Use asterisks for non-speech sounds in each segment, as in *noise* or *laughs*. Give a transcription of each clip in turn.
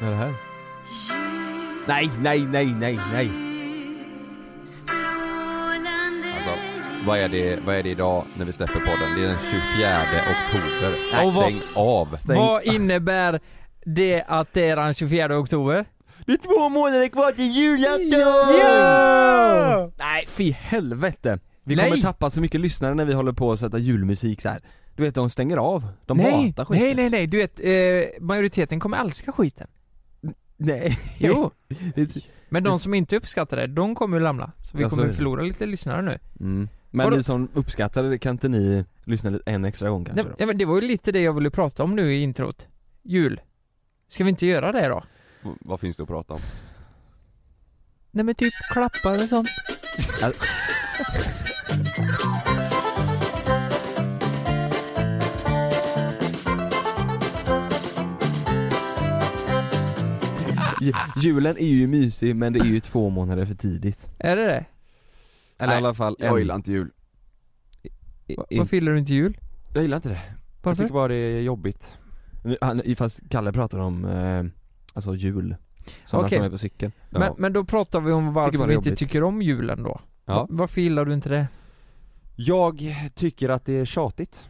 Vad är det här? Nej, nej, nej, nej, nej. Alltså, vad är, det, vad är det idag när vi släpper podden? Det är den 24 oktober. Och vad- Stäng av! Stäng- Vad innebär det att det är den 24 oktober? Det är två månader kvar till julafton! Ja! Nej, fy helvete. Vi Nej. kommer tappa så mycket lyssnare när vi håller på att sätta julmusik så här. Du vet, de stänger av. De nej, hatar skiten. nej, nej, nej, du vet, eh, majoriteten kommer *laughs* älska skiten. nej. Jo, Det- men de som inte uppskattar det, de kommer ju lämna. Så vi Ja, så är kommer det. förlora lite lyssnare nu. Mm. Men Vadå? ni som uppskattar det, kan inte ni lyssna lite en extra gång kanske? Nej, då? ja, men det var ju lite det jag ville prata om nu i introt. Jul. Ska vi inte göra det då? V- Vad finns det att prata om? Nej men typ klappar och sånt. Ju- Julen är ju mysig men det är ju två månader för tidigt. Är det det? Eller Nej, i alla fall Jag gillar inte jul. Va- i- Varför gillar du inte jul? Jag gillar inte det. Jag Varför? tycker bara det är jobbigt. Nu- Han, fast Kalle pratar om, eh, alltså jul. Sådana Okej. som är på cykeln. Men, men då pratar vi om varför Tycker bara vi det är inte jobbigt. tycker om julen då. Va- Varför gillar du inte det? Jag tycker att det är tjatigt.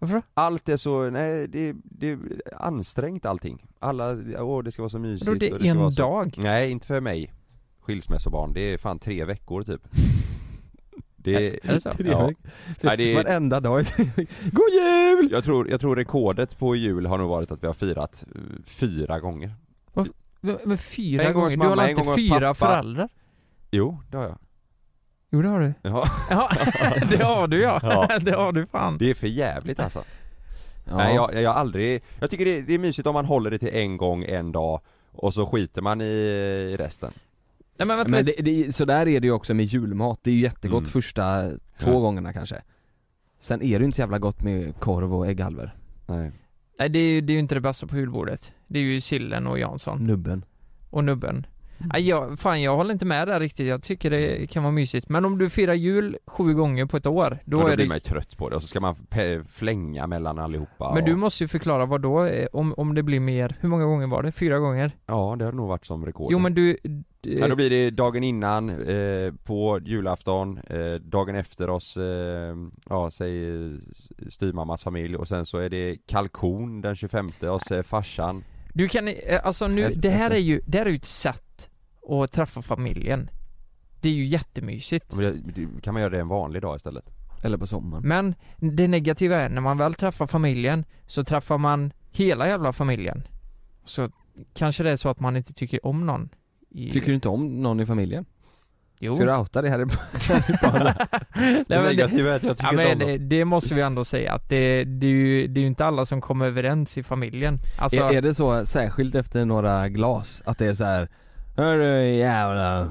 Varför då? Allt är så, nej det, det är ansträngt allting. Alla, åh det ska vara så mysigt Vadå, det och är ska vara en så... dag? Nej inte för mig. Skilsmässobarn, det är fan tre veckor *laughs* typ. Det, Är det så? Tre Ja. veckor. För Nej, det är- Varenda *laughs* dag. God jul! jag tror, jag tror rekordet på jul har nog varit att vi har firat eh, fyra gånger. Men, men fyra En gång gånger? hos du har mamma, väl en inte gång hos fyra pappa. föräldrar? Jo, det har jag. Jo det har du. Ja, Ja, *laughs* det har du ja. Ja. *laughs* Det har du fan. det är för jävligt alltså. Ja. Nej jag, jag har aldrig, jag tycker det, det är mysigt om man håller det till en gång, en dag och så skiter man i, i resten. Nej men vänta Men lite. det, det, så där är det ju också med julmat, det är ju jättegott Mm. första två Ja. gångerna kanske Sen är det ju inte så jävla gott med korv och ägghalvor, Nej. Nej det är, ju- det är ju inte det bästa på julbordet. Det är ju sillen och Jansson nubben och nubben. Nej jag, fan jag håller inte med där riktigt. Jag tycker det kan vara mysigt. Men om du firar jul sju gånger på ett år, då, Då, då är det... blir man ju trött på det och så ska man pe- flänga mellan allihopa Men du och, måste ju förklara vad då, eh, om, om det blir mer, hur många gånger var det? Fyra gånger? Ja det har nog varit som rekord Jo men du... eh, Ja, då blir det dagen innan, eh, på julafton, eh, dagen efter oss, eh, ja säg eh, styvmammas familj och sen så är det kalkon den 25 hos eh, farsan Du kan, eh, alltså nu, det här är ju, det här är ju ett sätt att träffa familjen. Det är ju jättemysigt. Ja, men det- det- Kan man göra det en vanlig dag istället? Eller på sommaren Men det negativa är, när man väl träffar familjen så träffar man hela jävla familjen. Så kanske det är så att man inte tycker om någon. I... Tycker du inte om någon i familjen? Jo. *laughs* Ska du outa det här i Nej, men det, negativa är att jag ja, men det, det måste vi ändå säga att det, det, är ju, det är ju inte alla som kommer överens i familjen. Alltså, är, är det så, särskilt efter några glas, att det är så här Hörru jävla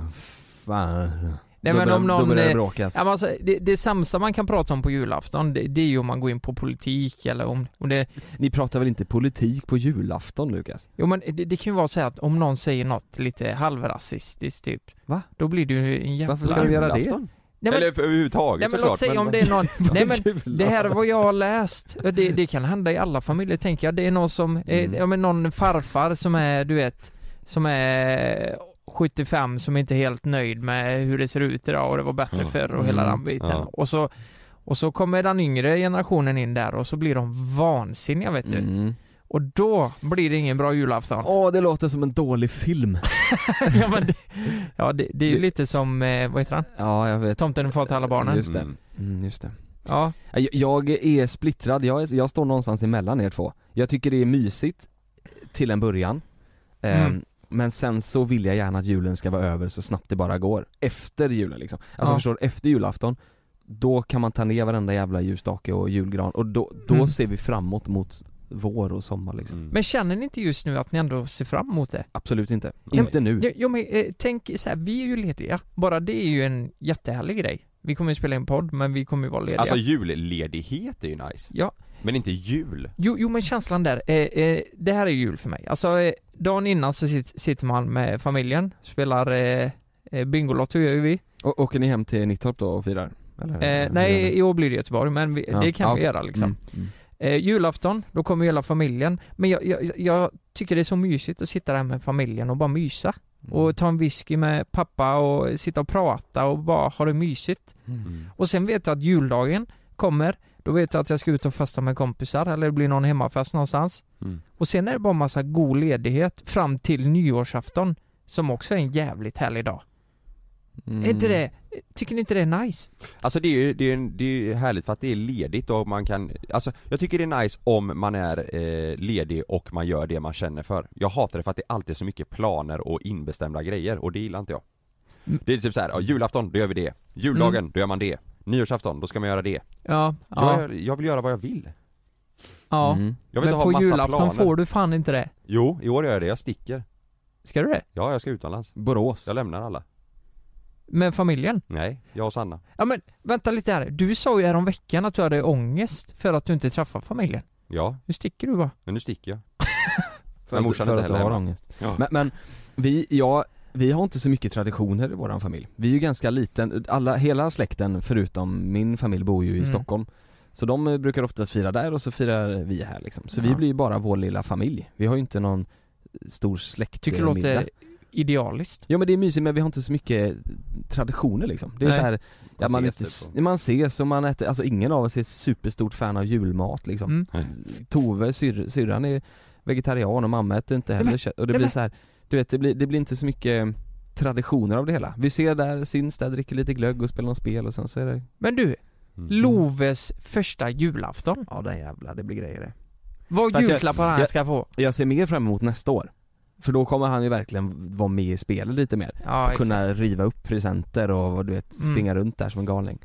fan nej, Då men börjar- om Då någon... börjar det eh, bråkas Ja, men alltså, det, det sämsta man kan prata om på julafton, det, det är ju om man går in på politik eller om, om det... Ni pratar väl inte politik på julafton Lukas? Jo men det, det kan ju vara så här att om någon säger något lite halvrasistiskt typ. Va? Då blir det ju en jävla... Varför ska de göra det? Julafton? Nej, men, Eller för- överhuvudtaget nej, men såklart låt säga om det är någon... *laughs* nej men det här är vad jag har läst. Och Det, det kan hända i alla familjer tänker jag. Det är någon som, Mm. eh, ja men någon farfar som är, du vet, som är 75 som inte är helt nöjd med hur det ser ut idag och det var bättre Ja. förr och hela Mm. den biten. Ja. Och, så, och så kommer den yngre generationen in där och så blir de vansinniga vet du. Mm. Och då blir det ingen bra julafton. Åh det låter som en dålig film *laughs* ja men det, ja, det, det är ju Det- lite som, eh, vad heter han? Ja jag vet Tomten är far till alla barnen. Just det. Mm, just det. Ja. Jag, Äh, jag är splittrad, jag, är, jag står någonstans emellan er två. Jag tycker det är mysigt eh, till en början, Ehm, Mm. men sen så vill jag gärna att julen ska vara över så snabbt det bara går. Efter julen liksom. Alltså Ja. förstår du, efter julafton, då kan man ta ner varenda jävla ljusstake och julgran och då, då Mm. ser vi framåt mot vår och sommar liksom. Mm. Men känner ni inte just nu att ni ändå ser fram emot det? Absolut inte. Nej. Inte nu. Jo, jo men eh, tänk så här, vi är ju lediga. Bara det är ju en jättehärlig grej. Vi kommer ju spela in podd, men vi kommer ju vara lediga. Alltså julledighet är ju nice, ja. men inte jul jo, jo men känslan där, eh, eh, det här är jul för mig. Alltså eh, dagen innan så sit, sitter man med familjen, spelar eh, eh, Bingolotto gör ju vi. Och, åker ni hem till Nittorp då och firar? Eller? Eh, nej, i år blir det Göteborg, men vi, Ja. det kan Ja, vi okej. göra liksom. Mm. Eh, julafton, då kommer hela familjen. Men jag, jag, jag tycker det är så mysigt att sitta där med familjen och bara mysa. Och ta en whisky med pappa och sitta och prata och bara ha det mysigt. Mm. Och sen vet jag att juldagen kommer, då vet jag att jag ska ut och festa med kompisar eller det blir någon hemmafest någonstans. Mm. Och sen är det bara massa god ledighet fram till nyårsafton, som också är en jävligt härlig dag. Är inte det, tycker ni inte det är nice? Alltså det är ju, det är, ju- det är ju härligt för att det är ledigt och man kan, alltså jag tycker det är nice om man är eh, ledig och man gör det man känner för Jag hatar det för att det alltid är så mycket planer och inbestämda grejer och det gillar inte jag Mm. Det är typ såhär, ja, julafton, då gör vi det Juldagen, då gör man det Nyårsafton, då ska man göra det Ja, ja, jag, jag vill göra vad jag vill ja. Mm. Jag vill Men inte ha på massa julafton planer får du fan inte det. Jo, i år gör jag det, jag sticker Ska du det? Ja, jag ska utomlands Borås. Jag lämnar alla Med familjen? Nej, jag och Sanna Ja men vänta lite här, du sa ju häromveckan att du hade ångest för att du inte träffar familjen. Ja, Nu sticker du bara. men nu sticker jag För Men att, *laughs* morsan för inte att du heller har hemma. ångest. Ja. Men, men vi, ja, vi har inte så mycket traditioner i våran familj. Vi är ju ganska liten, alla, hela släkten förutom min familj bor ju i Mm. Stockholm. Så de eh, brukar oftast fira där och så firar vi här liksom. Så vi Ja. blir ju bara vår lilla familj. Vi har ju inte någon stor Tycker det släktmiddag. låter idealiskt. Ja men det är mysigt men vi har inte så mycket eh, traditioner liksom. Det är Nej. så här, ja, man, ses inte, typ man ses och man äter, alltså ingen av oss är superstort fan av julmat liksom. Mm. Tove, syr, syrran är vegetarian och mamma äter inte Nej, heller men- kött och det nej, blir men- så här, du vet det blir, det blir inte så mycket eh, traditioner av det hela. Vi ser där, syns där, dricker lite glögg och spelar något spel och sen så är det Men du, på. Mm. Loves första julafton. Ja den jävla det blir grejer det. Vad Fast jag- julklappar han jag- ska få. Jag ser mer fram emot nästa år. För då kommer han ju verkligen vara med i spelet lite mer. Ja, exakt. Kunna riva upp presenter och du vet, Mm. springa runt där som en galning.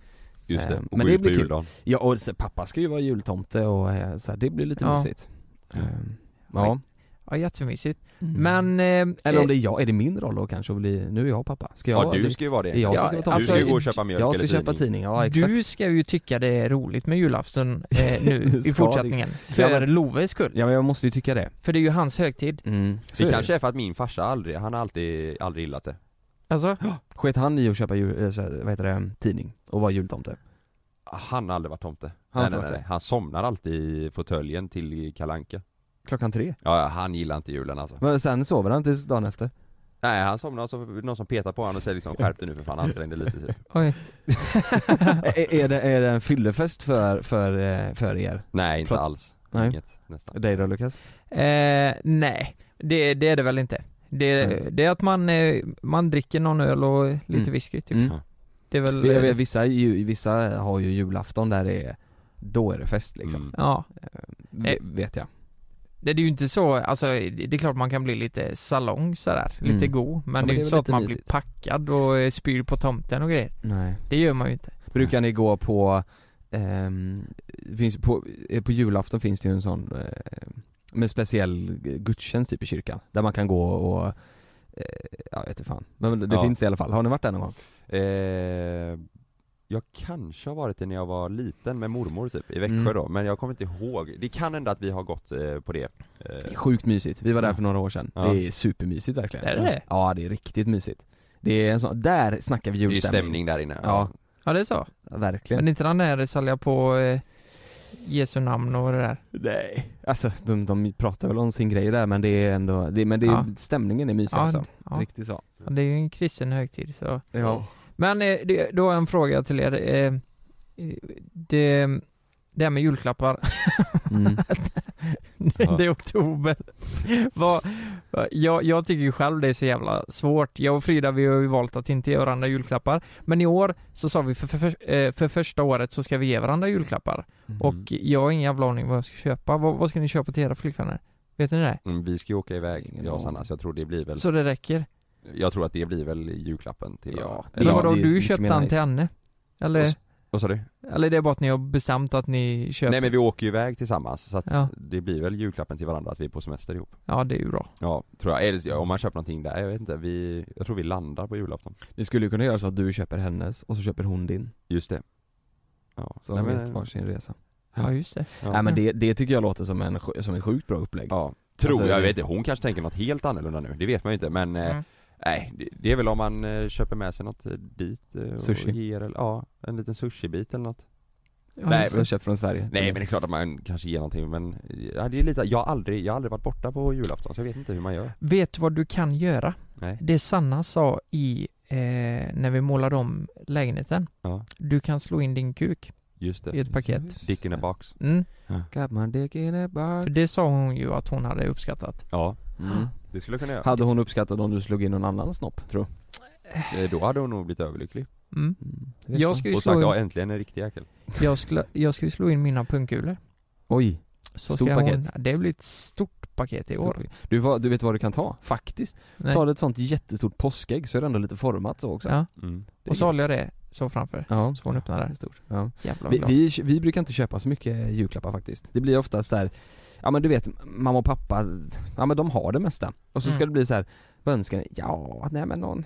Just det, Eh, och men gå det ut på blir kul. juldagen Ja och så, pappa ska ju vara jultomte och eh, så här, det blir lite Ja. mysigt. Eh, Oj. Ja. Ja, jättemysigt. Men... Eh, Eller om det är jag, är det min roll då kanske att bli, nu är jag pappa. Ska jag Ja, vara du det? ska ju vara det. Ja, jag Ja, ska vara du ska ju alltså, gå och köpa mjölk Jag ska eller köpa tidning. tidning, ja exakt. Du ska ju tycka det är roligt med julafton *laughs* eh, Ska nu det. i fortsättningen. För Ja, men- Loves skull. Ja men jag måste ju tycka det. För det är ju hans högtid. Mm. Så Det är kanske är för att min farsa aldrig, han har alltid, aldrig gillat det. Alltså, Sket han i att köpa jul, eh, så här, vad heter det, tidning och vara jultomte? Han har aldrig varit tomte. Han har Han, inte nej, varit nej, nej. han somnar alltid i fåtöljen till kalanka. Klockan tre? Ja, ja, han gillar inte julen alltså. Men sen sover han tills dagen efter. *laughs* Nej, han somnar och så någon som petar på honom och säger liksom skärp dig nu för fan, ansträng dig lite *laughs* typ. oj. är, är, det, är det en fyllefest för, för, eh, för er? Nej, inte Prat- alls. Nej. Inget, nästan. Dig då Lukas? Eh, nej, det, det är det väl inte. Det, Nej. det är att man, eh, man dricker någon öl och lite Mm. whisky typ. Mm. Det är väl... Jag vet, vissa, ju, vissa har ju julafton där det är, då är det fest liksom. Mm. Eh. Ja. Ve- Vet jag. Det det är ju inte så, alltså det det är klart man kan bli lite salong sådär, Mm. lite god. Men men det det är ju är inte så väl att lite man mysigt. blir packad och eh, spyr på tomten och grejer. Nej. Det gör man ju inte. Brukar ni gå på, ehm, finns på, eh, på julafton finns det ju en sån eh, med speciell gudstjänst typ i kyrkan, där man kan gå och eh, Ja, jag vet inte fan. Men det Ja. finns det i alla fall. Har ni varit där någon gång? Eh, jag kanske har varit det när jag var liten med mormor typ, i Växjö Mm. då, men jag kommer inte ihåg. Det kan hända att vi har gått eh, på det. Eh, Sjukt mysigt. Vi var där Ja. för några år sedan. Ja. Det är supermysigt verkligen. Är det? Ja, det är riktigt mysigt. Det är en sån, där snackar vi det är ju julstämning. stämning där inne. Ja, Ja det är så. verkligen. Men inte den där salja på eh, Jesu namn och det där. Nej. Alltså, de, de pratar väl om sin grej där men det är ändå, det, men det är, Ja. stämningen är mysig Ja, alltså. ja. Riktigt så. Ja, Det är ju en kristen högtid så. Ja. Men eh, det, då har jag en fråga till er. Eh, det, det här med julklappar. Mm. Ja. *laughs* det är oktober. Vad, vad- jag, jag tycker ju själv det är så jävla svårt. Jag och Frida vi har ju valt att inte ge varandra julklappar. Men i år så sa vi för, för, för, eh, för första året så ska vi ge varandra julklappar. Mm. Och jag har ingen jävla aning vad jag ska köpa. Vad, vad ska ni köpa till era flickvänner? Vet ni det? Mm, vi ska ju åka iväg, Ingen jag och aning. Sanna, så jag tror det blir väl Så det räcker? Jag tror att det blir väl julklappen till Ja, varandra. det- Eller Men Ja, vadå, det är ju så du mycket köpte mer han nice. till henne? Eller, Vad sa du? eller det är bara att ni har bestämt att ni köper? Nej men vi åker ju iväg tillsammans så att Ja. det blir väl julklappen till varandra att vi är på semester ihop Ja det är ju bra. Ja, tror jag, eller om man köper någonting där, jag vet inte, vi, jag tror vi landar på julafton Ni skulle ju kunna göra så att du köper hennes och så köper hon din. Just det Ja, Så Nej, har de men- vet varsin resa. Ja just det. ja. Nej men det, det tycker jag låter som, en, sj- som ett sjukt bra upplägg. ja. Tror Alltså, jag, jag det- vet inte, hon kanske tänker något helt annorlunda nu, det vet man ju inte men eh, Mm. Nej, det- det är väl om man eh, köper med sig något eh, dit eh, och Sushi. ger, eller, ja, en liten sushibit eller något Ja, Nej, just Som det. jag köpt från Sverige Nej men det är klart att man kanske ger någonting men ja, det är lite, jag har, aldrig, jag har aldrig varit borta på julafton så jag vet inte hur man gör Vet du vad du kan göra? Nej, Det Sanna sa i, eh, när vi målade om lägenheten. Ja. Du kan slå in din kuk just i det Mm. ett paket. Dick in a box Mm. Got my dick in a box För det sa hon ju att hon hade uppskattat. Ja, mm. det skulle jag kunna göra Hade hon uppskattat om du slog in någon annan snopp, tror Eh, Då hade hon nog blivit överlycklig Mm. du? Mm. det vet man. Jag ska ju och sagt slå ja in, äntligen en riktig jäkel jag skulle, jag ska ju slå in mina pungkulor. Oj, Så Stort ska hon, paket. det blir ett stort paket i år. stor- du, vad- du vet vad du kan ta, faktiskt. Nej. Tar du ett sånt jättestort påskägg så är det ändå lite format så också Ja, mm. Det är och så gött. håller jag det så framför. Ja, Så får hon öppna det är där. stort ja. Jävlar vad vi, glad. vi, vi brukar inte köpa så mycket julklappar faktiskt Det blir oftast där, ja men du vet, mamma och pappa, ja men de har det mesta Och så ska Mm. det bli så här, vad önskar ni? Ja, nej men någon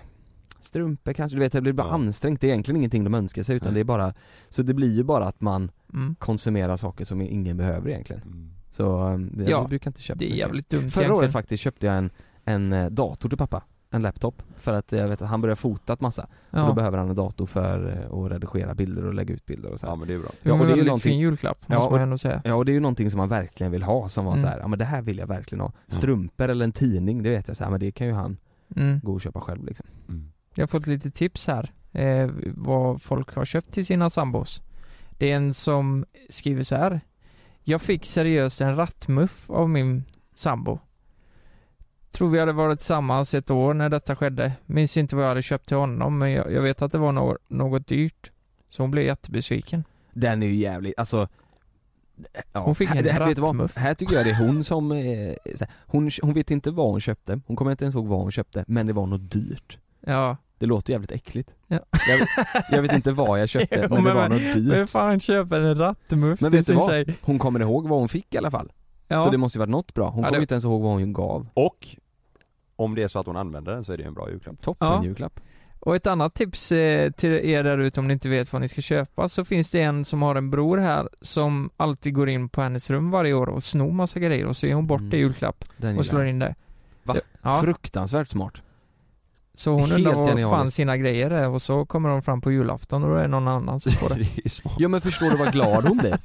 strumpor kanske, du vet det blir bara Ja. ansträngt, det är egentligen ingenting de önskar sig utan Nej. det är bara Så det blir ju bara att man Mm. konsumerar saker som ingen behöver egentligen Mm. Så eh, vi, Ja, vi brukar inte köpa Det så är mycket. jävligt dumt Förra egentligen. året faktiskt köpte jag en, en eh, dator till pappa, en laptop, för att jag vet att han börjar fota ett massa och då Ja. behöver han en dator för eh, att redigera bilder och lägga ut bilder och så här. Ja men det är bra Ja, och det det är ju är en väldigt någonting- fin julklapp, Ja, måste man och- ändå säga. Ja och det är ju någonting som man verkligen vill ha som var Mm. så här, ja men det här vill jag verkligen ha Strumpor eller en tidning, det vet jag så här, men det kan ju han Mm. gå och köpa själv liksom mm. Jag har fått lite tips här, eh, vad folk har köpt till sina sambos. Det är en som skriver så här. Jag fick seriöst en rattmuff av min sambo. Tror vi hade varit tillsammans ett år när detta skedde. Minns inte vad jag hade köpt till honom, men jag, jag vet att det var no- något dyrt. Så hon blev jättebesviken. Den är ju jävlig, alltså eh, ja, Hon fick en det, här, vet du vad? rattmuff. här tycker jag det är hon som, eh, så här, hon, hon vet inte vad hon köpte, hon kommer inte ens ihåg vad hon köpte, men det var något dyrt Ja, Det låter jävligt äckligt Ja. jag, jag vet inte vad jag köpte, *laughs* Jo, men det men- var något dyrt vem fan köper en rattmuff Men till vet du sin vad? tjej? Hon kommer ihåg vad hon fick i alla fall, Ja. så det måste ju varit något bra, hon Ja, kommer det- ju inte ens ihåg vad hon gav Och om det är så att hon använder den så är det ju en bra julklapp Toppen Ja. julklapp Och ett annat tips eh, till er där ute om ni inte vet vad ni ska köpa så finns det en som har en bror här som alltid går in på hennes rum varje år och snor massa grejer och så ger hon bort Mm. det i julklapp Den och gillar slår jag. in det. Va? Ja, Fruktansvärt smart så hon undrar helt var fan genialiskt. sina grejer är och så kommer de fram på julafton och då är det någon annan *laughs* som får *laughs* det. Det är smart Ja men förstår du vad glad hon blir?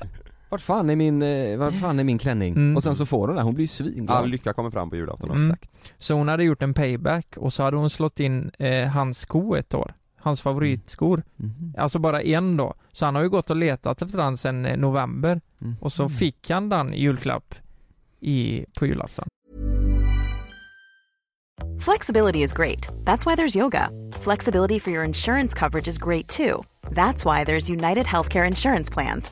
Vart fan är min, eh, vart fan är min klänning? Mm. Och sen så får hon den, hon blir ju svinglad All lycka kommer fram på julafton Mm. Så hon hade gjort en payback och så hade hon slått in eh, hans sko ett år. Hans favoritskor. Mhm. Alltså bara en då. Så han har ju gått och letat efter den sedan eh, november Mm. och så fick han den i julklapp i, på julafton. Flexibility is great. That's why there's yoga. Flexibility for your insurance coverage is great too. That's why there's United Healthcare Insurance Plans.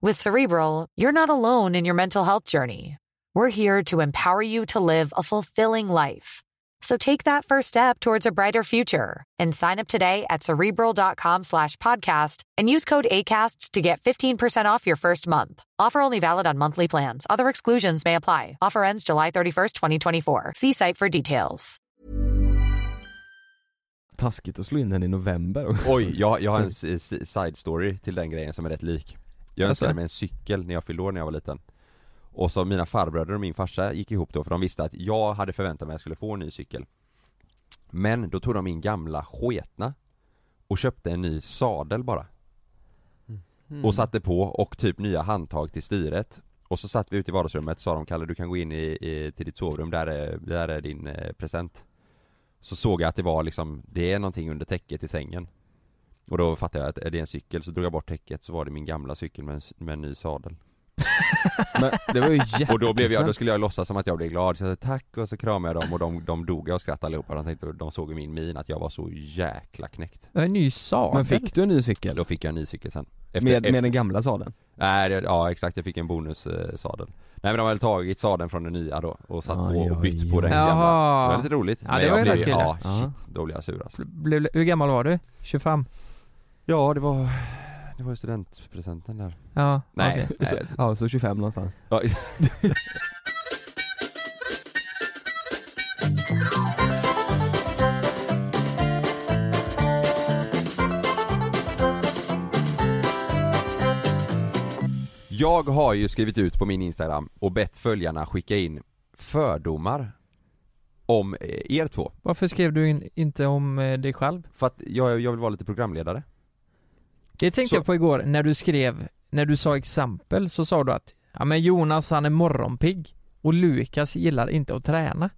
With Cerebral, you're not alone in your mental health journey. We're here to empower you to live a fulfilling life. So take that first step towards a brighter future and sign up today at cerebral.com slash podcast and use code ACAST to get 15% off your first month. Offer only valid on monthly plans. Other exclusions may apply. Offer ends July 31st, 2024. See site for details. Taskigt att slå in den i november och... Oj, jag, jag har en s- s- side story till den grejen som är rätt lik Jag Jaså? önskade mig en cykel när jag fyllde år när jag var liten Och så mina farbröder och min farsa gick ihop då för de visste att jag hade förväntat mig att jag skulle få en ny cykel Men då tog de min gamla sketna Och köpte en ny sadel bara Mm. Och satte på och typ nya handtag till styret Och så satt vi ute i vardagsrummet sa de Kalle du kan gå in i, i, till ditt sovrum, där är, där är din eh, present Så såg jag att det var liksom, det är någonting under täcket i sängen Och då fattade jag att är det en cykel så drog jag bort täcket så var det min gamla cykel med en, s- med en ny sadel Men det var ju jättesnällt. Och då blev jag, då skulle jag låtsas som att jag blev glad, så jag sa tack och så kramade jag dem och de, de dog och skrattade allihopa, de tänkte, de såg i min min att jag var så jäkla knäckt En ny sadel. Men fick du en ny cykel? Då fick jag en ny cykel sen Efter- Med, efter- med den gamla sadeln? Nej, det, ja exakt, jag fick en bonussadel eh, sadel. Nej men de hade tagit sadeln från den nya då och satt Aj, på och aj, bytt aj. på den gamla Det var Jaha. lite roligt, Ja, det var ju jag blev, rätt kul. ja Ja. shit, då blev jag sur alltså. Blev, hur gammal var du? 25? Ja det var, det var ju studentpresenten där Ja. Nej, eh, okej. nej. Ja, så 25 någonstans Ja, Jag har ju skrivit ut på min Instagram och bett följarna skicka in fördomar om eh, er två. Varför skrev du in, inte om eh, dig själv? För att jag, jag vill vara lite programledare. Det tänkte Så- jag på igår när du skrev, när du sa exempel så sa du att ja men Jonas han är morgonpigg och Lukas gillar inte att träna.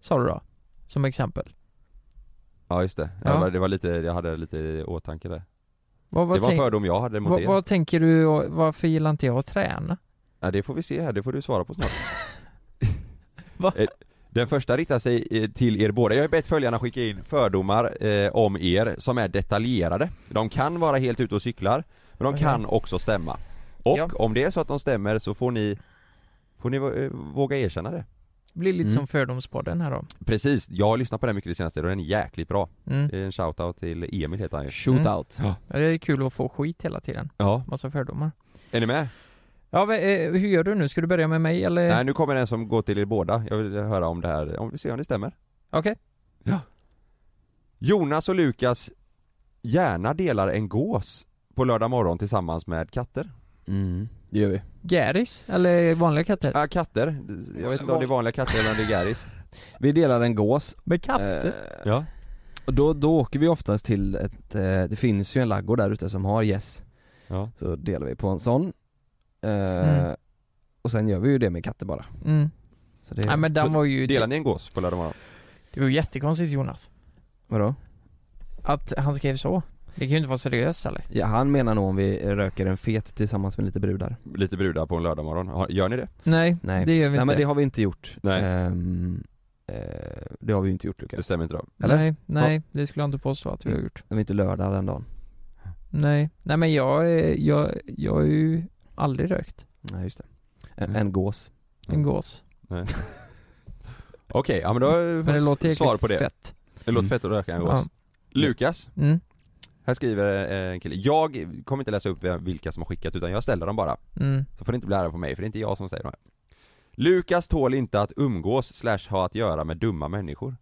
Sa du då? Som exempel. Ja just det, Ja. Jag, var, det var lite, jag hade lite i åtanke där. Vad, vad, det var en tänk, fördom jag hade mot vad, er. vad tänker du, och varför gillar inte jag att träna? Ja, det får vi se här, det får du svara på snart. *laughs* Va? Eh, Den första riktar sig eh, till er båda. Jag har bett följarna skicka in fördomar eh, om er som är detaljerade. De kan vara helt ute och cyklar, men de Okej. kan också stämma. Och Ja. om det är så att de stämmer så får ni, får ni eh, våga erkänna det. Det blir lite Mm. som fördomspodden här då. Precis, jag har lyssnat på den mycket det senaste och den är jäkligt bra. Mm. Det är En shoutout till Emil heter han ju. Shootout Ja, Det är kul att få skit hela tiden. Ja. Massa fördomar. Är ni Eh. med? Ja, men, eh, hur gör du nu? Ska du börja med mig eller? Nej, nu kommer den som går till er båda. Jag vill höra om det här, om vi ser om det stämmer. Okej. Jonas och Lukas gärna delar en gås på lördag morgon tillsammans med katter. mm. Det gör vi Gäris? Eller vanliga katter? Ja, Äh, katter. Jag vet inte om det är vanliga katter eller om det är *laughs* gäris. Vi delar en gås Med katter? Eh, Ja. Och då, då åker vi oftast till ett, eh, det finns ju en laggård där ute som har gäss Ja. Så delar vi på en sån eh, Mm. Och sen gör vi ju det med katter bara Mm. så det, Nej men den Så var ju... Delar ni en gås på lördag morgon? Det var ju jättekonstigt Jonas. Vadå? Att han skrev så. Det kan ju inte vara seriöst eller? Ja, han menar nog om vi röker en fet tillsammans med lite brudar Lite brudar på en lördag morgon. Har- Gör ni det? Nej, Nej. det gör vi Nej inte. men det har vi inte gjort Nej. Ehm, eh, Det har vi ju inte gjort Det Lukas stämmer inte då. eller? Nej, nej, det skulle jag inte påstå att vi har gjort. Det var inte lördag den dagen Nej, nej men jag, är- jag, jag har ju aldrig rökt Nej just det En, en gås en Mm. gås. Okej, ja men då Men det låter har svar på det. fett. Det låter fett att röka en gås. Ja. Lukas, Mm, här skriver eh, en kille. Jag kommer inte läsa upp vem- vilka som har skickat utan jag ställer dem bara. mm. Så får det inte bli ära på mig för det är inte jag som säger det här. Lukas tål inte att umgås slash ha att göra med dumma människor.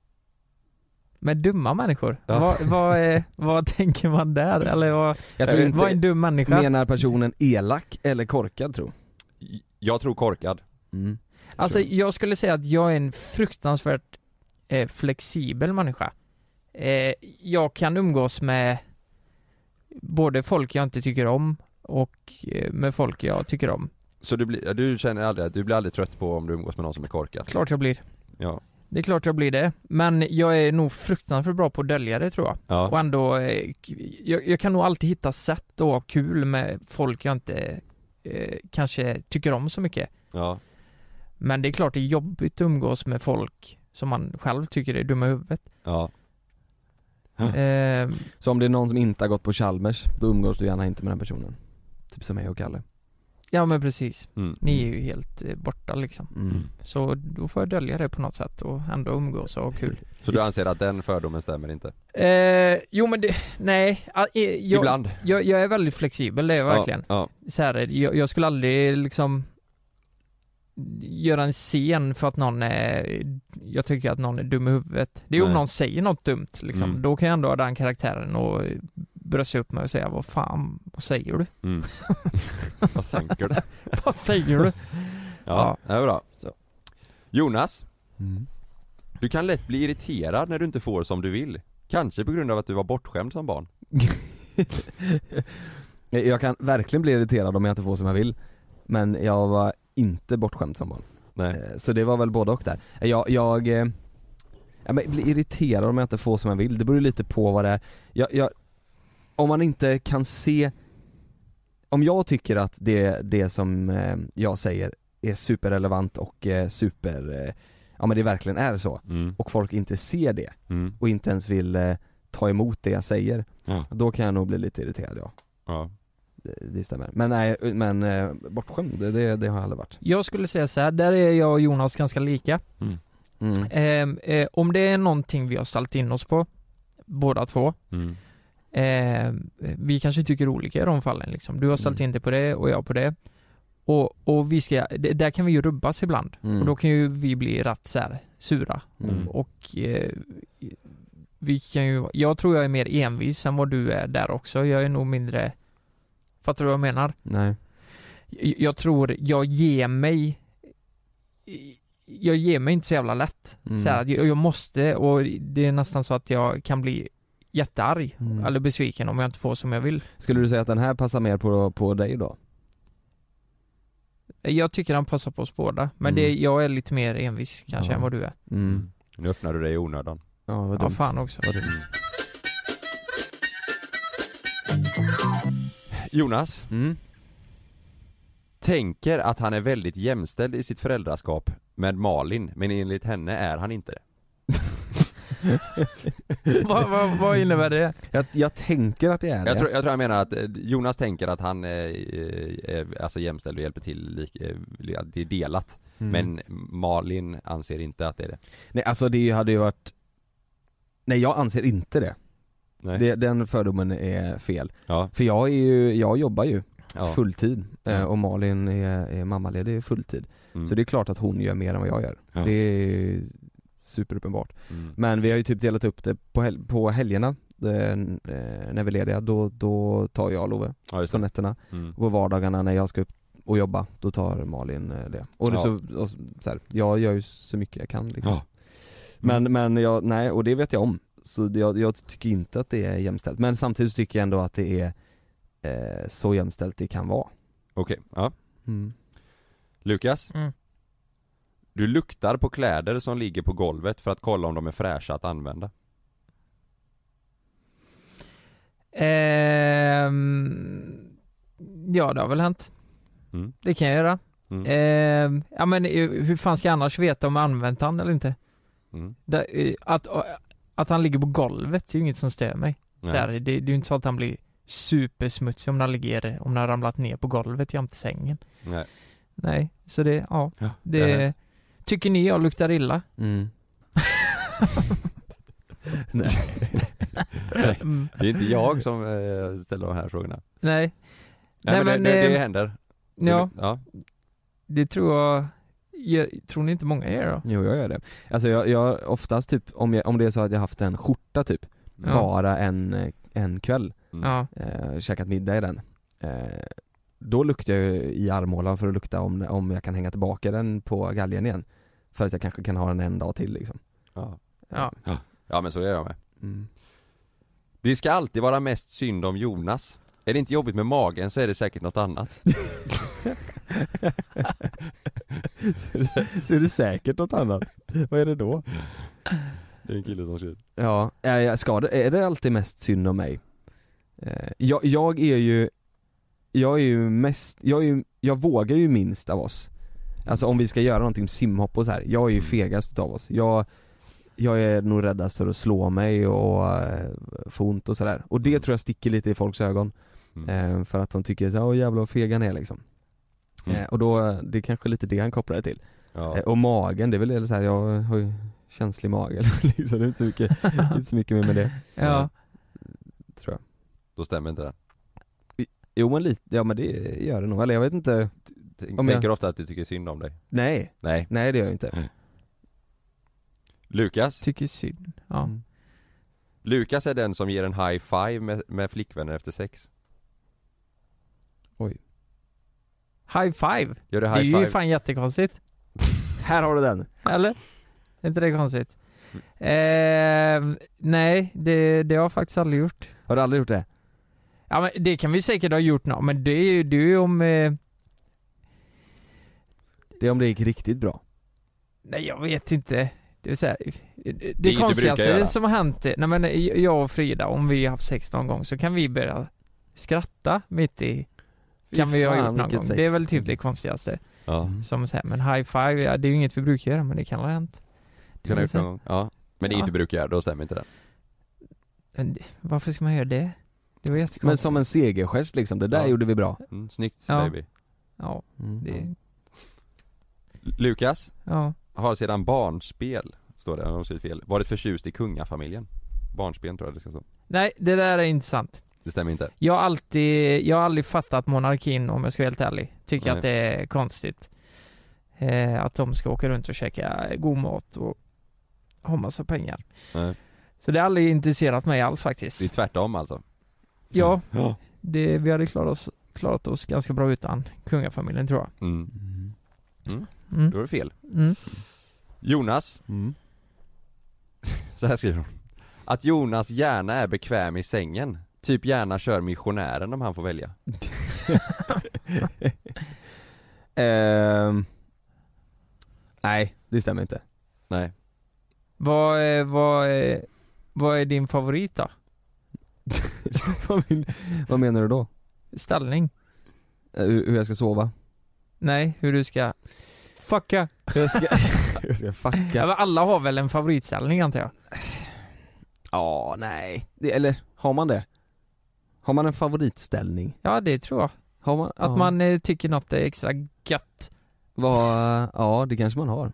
Men dumma människor? Ja. Vad, vad, är, vad tänker man där? Eller vad, Jag tror vad är inte en dum människa? Menar personen elak eller korkad tro? Jag tror korkad. Mm. Alltså Tror jag skulle säga att jag är en fruktansvärt eh, flexibel människa. Eh, jag kan umgås med både folk jag inte tycker om och eh, med folk jag tycker om. Så du, blir, du känner aldrig, du blir aldrig trött på om du umgås med någon som är korkad? Klart jag blir. Ja. Det är klart jag blir det. Men jag är nog fruktansvärt bra på att dölja det tror jag. Och ja. ändå, eh, k- jag, jag kan nog alltid hitta sätt att ha kul med folk jag inte eh, kanske tycker om så mycket. ja. Men det är klart det är jobbigt att umgås med folk som man själv tycker är dumma i huvudet. ja. *laughs* Eh, Så om det är någon som inte har gått på Chalmers, då umgås du gärna inte med den personen Typ som jag och Kalle ja men precis. Mm. Ni är ju helt eh, borta liksom. mm. Så då får jag dölja det på något sätt och ändå umgås och ha kul. Så du anser att den fördomen stämmer inte? Eh, jo men det, nej. ah, eh, Jag, Ibland? jag, jag är väldigt flexibel, det är jag verkligen. Ja. Så här, är det, jag, jag skulle aldrig liksom göra en scen för att någon är, jag tycker att någon är dum i huvudet. Det är om Nej. någon säger något dumt liksom. Mm. Då kan jag ändå ha den karaktären och brösta upp mig och säga vad fan, vad säger du? *laughs* ja. Mm. Vad tänker du? vad säger du? Ja, det är bra. Så. Jonas, Mm. du kan lätt bli irriterad när du inte får som du vill. Kanske på grund av att du var bortskämd som barn. Jag kan verkligen bli irriterad om jag inte får som jag vill Men jag var inte bortskämd som barn Nej. Eh, Så det var väl både och där Jag, jag, eh, ja, men blir irriterad om jag inte får som jag vill, det beror ju lite på vad det är jag, jag, Om man inte kan se om jag tycker att det, det som eh, jag säger är superrelevant och eh, super, eh, ja men det verkligen är så Mm. och folk inte ser det Mm. och inte ens vill eh, ta emot det jag säger, Ja. då kan jag nog bli lite irriterad ja. Ja. Det, det stämmer. Men nej, men eh, bortskämd, det, det, det har jag aldrig varit. Jag skulle säga så här, där är jag och Jonas ganska lika. Mm. Ehm, eh, om det är någonting vi har ställt in oss på, båda två, Mm. ehm, vi kanske tycker olika i de fallen liksom. Du har ställt Mm. in dig på det och jag på det. Och, och vi ska, det, där kan vi ju rubbas ibland. Mm. Och då kan ju vi bli rätt så här, sura. Mm. Och eh, vi kan ju, jag tror jag är mer envis än vad du är där också. Jag är nog mindre, fattar du vad jag menar? Nej. jag, jag tror, jag ger mig Jag ger mig inte så jävla lätt. Mm. Så här, att jag, jag måste och det är nästan så att jag kan bli jättearg Mm. eller besviken om jag inte får som jag vill. Skulle du säga att den här passar mer på, på dig då? Jag tycker han passar på oss båda, men Mm. det, jag är lite mer envis kanske Ja. än vad du är. Mm. Mm. Nu öppnar du dig i onödan. Mm. Ja, vad Ja dumt. fan också. *laughs* Vad dumt. Jonas Mm. tänker att han är väldigt jämställd i sitt föräldraskap med Malin, men enligt henne är han inte det. vad, vad, vad innebär det? Jag, jag tänker att det är Jag det. tror, jag tror han menar att eh, Jonas tänker att han eh, är alltså jämställd och hjälper till, lik- eh, att det är delat. Mm. Men Malin anser inte att det är det. Nej alltså det hade ju varit Nej jag anser inte det. Nej. det den fördomen är fel. Ja, För jag är ju, jag jobbar ju ja. fulltid eh, Ja. och Malin är, är mammaledig fulltid. Mm. Så det är klart att hon gör mer än vad jag gör. Ja. Det är ju superuppenbart. Mm. Men vi har ju typ delat upp det på, hel- på helgerna eh, n- eh, när vi är lediga, då, då tar jag Love Ja, just på det. nätterna. Mm. På vardagarna när jag ska upp och jobba, då tar Malin eh, det. Och, det Ja. så, och så här, jag gör ju så mycket jag kan liksom. Ja. Men, men jag, nej, och det vet jag om. Så det- jag, jag tycker inte att det är jämställt. Men samtidigt så tycker jag ändå att det är eh, så jämställt det kan vara. Okej, ja. Mm. Lukas? Mm. Du luktar på kläder som ligger på golvet för att kolla om de är fräscha att använda. Ehm, ja det har väl hänt. Mm. Det kan jag göra. Mm. Ehm, ja men eh, hur fan ska jag annars veta om jag använt han eller inte? Mm. Där, eh, att, att han ligger på golvet det är ju inget som stör mig. Så Nej. här, det, det är ju inte så att han blir supersmutsig om han ligger, eh, om han har ramlat ner på golvet jämte sängen. Nej. Nej, så det, ja, Ja. det Tycker ni jag luktar illa? *laughs* Mm. nej. Nej. Mm. Det är inte jag som eh, ställer de här frågorna. Nej. Nej, Nej, men, men, det, det, det eh, händer. Det- Ja, ja. det tror jag, jag tror ni inte många gör då? Jo jag gör det. Alltså jag, jag oftast typ, om, jag, om det är så att jag haft en skjorta typ, Ja. bara en, eh, en kväll, Mm. Ja, eh, käkat middag i den. Eh, då luktar jag ju i armhålan för att lukta om, om jag kan hänga tillbaka den på galgen igen. För att jag kanske kan ha den en dag till liksom. Ja. Ja. ja, men så gör jag med. Mm. *laughs* Det ska alltid vara mest synd om Jonas. Är det inte jobbigt med magen så är det säkert något annat. så, är det, så är det säkert något annat. Vad är det då? Det är en kille som ser Ja, är, jag skadad, är det alltid mest synd om mig? Eh, jag, jag är ju, jag är ju mest, jag, är ju, jag vågar ju minst av oss. Alltså om vi ska göra någonting simhopp och så här. jag är ju Mm. fegast av oss. Jag, jag är nog räddast för att slå mig och eh, få ont och sådär. Och det Mm. tror jag sticker lite i folks ögon. Mm. Eh, för att de tycker såhär, åh jävlar vad feg han är liksom. Mm. Eh, och då, det är kanske lite det han kopplar det till. Ja. Eh, Och magen, det är väl så här, jag har ju känslig mage *laughs* liksom, det är inte så mycket, *laughs* inte så mycket mer med det Mm. ja. tror jag Då stämmer inte det. Jo men lite, ja men det gör det nog, eller jag vet inte Tänk, Om jag- Tänker ofta att du tycker synd om dig. Nej, Nej. nej det gör jag inte Lukas? Tycker synd. Ja. Mm. Lukas är den som ger en high five med, med flickvänner efter sex. High five! Gör du Det high är ju five? fan jättekonstigt. Här har du den! Eller? Är inte det konstigt? Mm. Ehm, nej, det, det har jag faktiskt aldrig gjort. Har du aldrig gjort det? Ja men det kan vi säkert ha gjort nå, men det är ju, det är ju om... Eh, Det är om det gick riktigt bra nej jag vet inte. Det är så här, det, det, du brukar konstigaste göra. som har hänt, är- nej men eh, jag och Frida, om vi har haft sex någon gång så kan vi börja skratta mitt i kan vi ha fan, gjort någon vilket gång. sex. Det är väl typ det konstigaste. Ja, Som så här, men high five, ja, det är ju inget vi brukar göra men det kan ha hänt. Det kan är ha gjort så här, någon gång. Ja. Men det är Ja. inte brukar, då stämmer inte det. men det- Varför ska man göra det? Det var jättekonstigt. Men som en segergest liksom, det där Ja. gjorde vi bra Mm, snyggt Ja. baby. Ja, Mm. det... Lukas Ja. har sedan barnspel, står det, om jag skrivit fel, varit förtjust i kungafamiljen. Barnspel tror jag det ska stå. Nej, det där är inte sant. Det stämmer inte. Jag har alltid, jag har aldrig fattat monarkin om jag ska vara helt ärlig. Tycker Nej. att det är konstigt. Eh, att de ska åka runt och käka god mat och ha massa pengar. Nej. Så det har aldrig intresserat mig alls Det är faktiskt. tvärtom alltså. Ja, Ja. det, vi hade klarat oss, klarat oss ganska bra utan kungafamiljen tror jag. Mm. Mm. Då Mm. är det fel. Mm. Jonas *laughs* Mm. *laughs* Så här skriver hon Att Jonas gärna är bekväm i sängen Typ gärna kör missionären om han får välja Ehm, nej, det stämmer inte Nej Vad, är- vad, är- vad är din favorit då? *laughs* vad, men- vad menar du då? Ställning? Eh, Hur, hur jag ska sova? Nej, hur du ska... Fucka! Jag ska, *laughs* jag ska fucka Ja, men alla har väl en favoritställning antar jag? Ja, nej. Det, eller, har man det? Har man en favoritställning? Ja, det tror jag. Har man? Att ja. man eh, tycker något är extra gött. Vad, ja det kanske man har.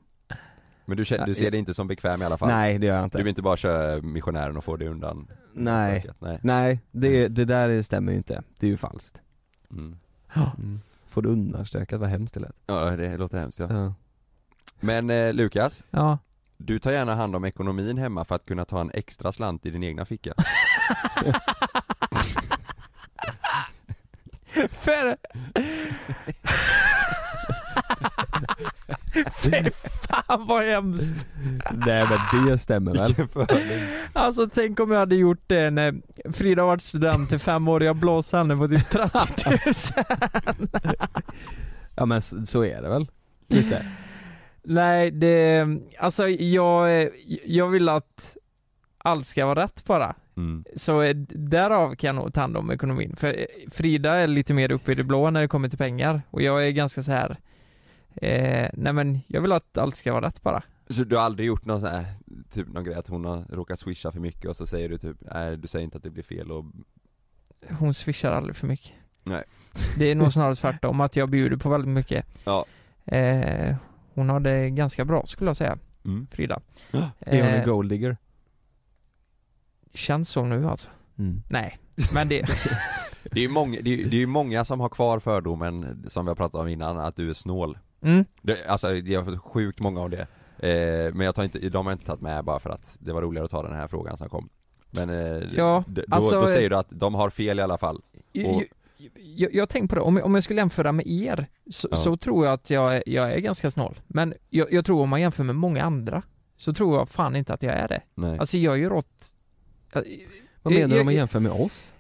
Men du, känner, du ser det inte som bekväm i alla fall? Nej det gör jag Du inte. vill inte bara köra missionären och få det undan? Nej. Nej Nej, det, det där stämmer ju inte. Det är ju falskt. mm. Får du undanstökat, vad hemskt det lät. Ja det låter hemskt ja Ja. Men eh, Lukas, Ja. du tar gärna hand om ekonomin hemma för att kunna ta en extra slant i din egna *laughs* ficka *laughs* För... Fy fan vad hemskt! *laughs* Nej men det stämmer väl? Alltså tänk om jag hade gjort det när Frida har varit student i fem år och jag blåser henne på typ 30 000 Ja men s- så är det väl? Lite. Nej det, alltså jag, jag vill att allt ska vara rätt bara. mm. Så eh, därav kan jag nog ta hand om ekonomin. För eh, Frida är lite mer uppe i det blå när det kommer till pengar och jag är ganska så här. Eh, nej men jag vill att allt ska vara rätt bara. Så du har aldrig gjort någon sån här, typ någon grej att hon har råkat swisha för mycket och så säger du typ Nej du säger inte att det blir fel och Hon swishar aldrig för mycket. Nej. Det är nog snarare tvärtom att jag bjuder på väldigt mycket. Ja. Eh, hon har det ganska bra skulle jag säga, mm. Frida. Är hon en Eh, golddigger? känns så nu alltså. Mm. Nej, men det, Det är ju många, det är, det är ju många som har kvar fördomen som vi har pratat om innan, att du är snål mm, det, Alltså jag har fått sjukt många av det eh, Men jag tar inte, de har jag inte tagit med bara för att det var roligare att ta den här frågan som kom Men eh, Ja, d- då, alltså- då säger du att de har fel i alla fall Och- jag, jag, jag tänkte på det, om jag, om jag skulle jämföra med er så, Ja. så tror jag att jag, är- jag är ganska snål. Men jag, jag tror om man jämför med många andra så tror jag fan inte att jag är det. Nej Alltså jag gör åt... Vad menar du om man jag- jämför med oss?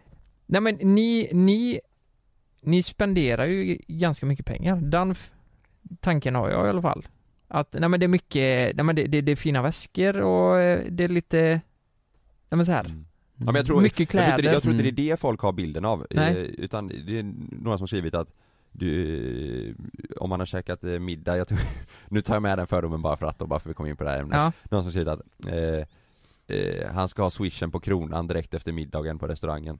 Nej men ni, ni, ni spenderar ju ganska mycket pengar. Den f- tanken har jag i alla fall. Att, nej men det är mycket, nej men det, det, det är fina väskor och eh, det är lite, nej men så här. Mm. Ja, men jag tror, mycket jag tror, kläder. inte, det- jag tror inte det Mm. är det folk har bilden av, Nej. eh, utan det är några som har skrivit att du, eh, om man har käkat eh, middag, jag tror, *laughs* nu tar jag med den fördomen bara för att, och bara för att vi kom in på det här ämnet Ja, Någon som skrivit att eh, eh, han ska ha swishen på kronan direkt efter middagen på restaurangen.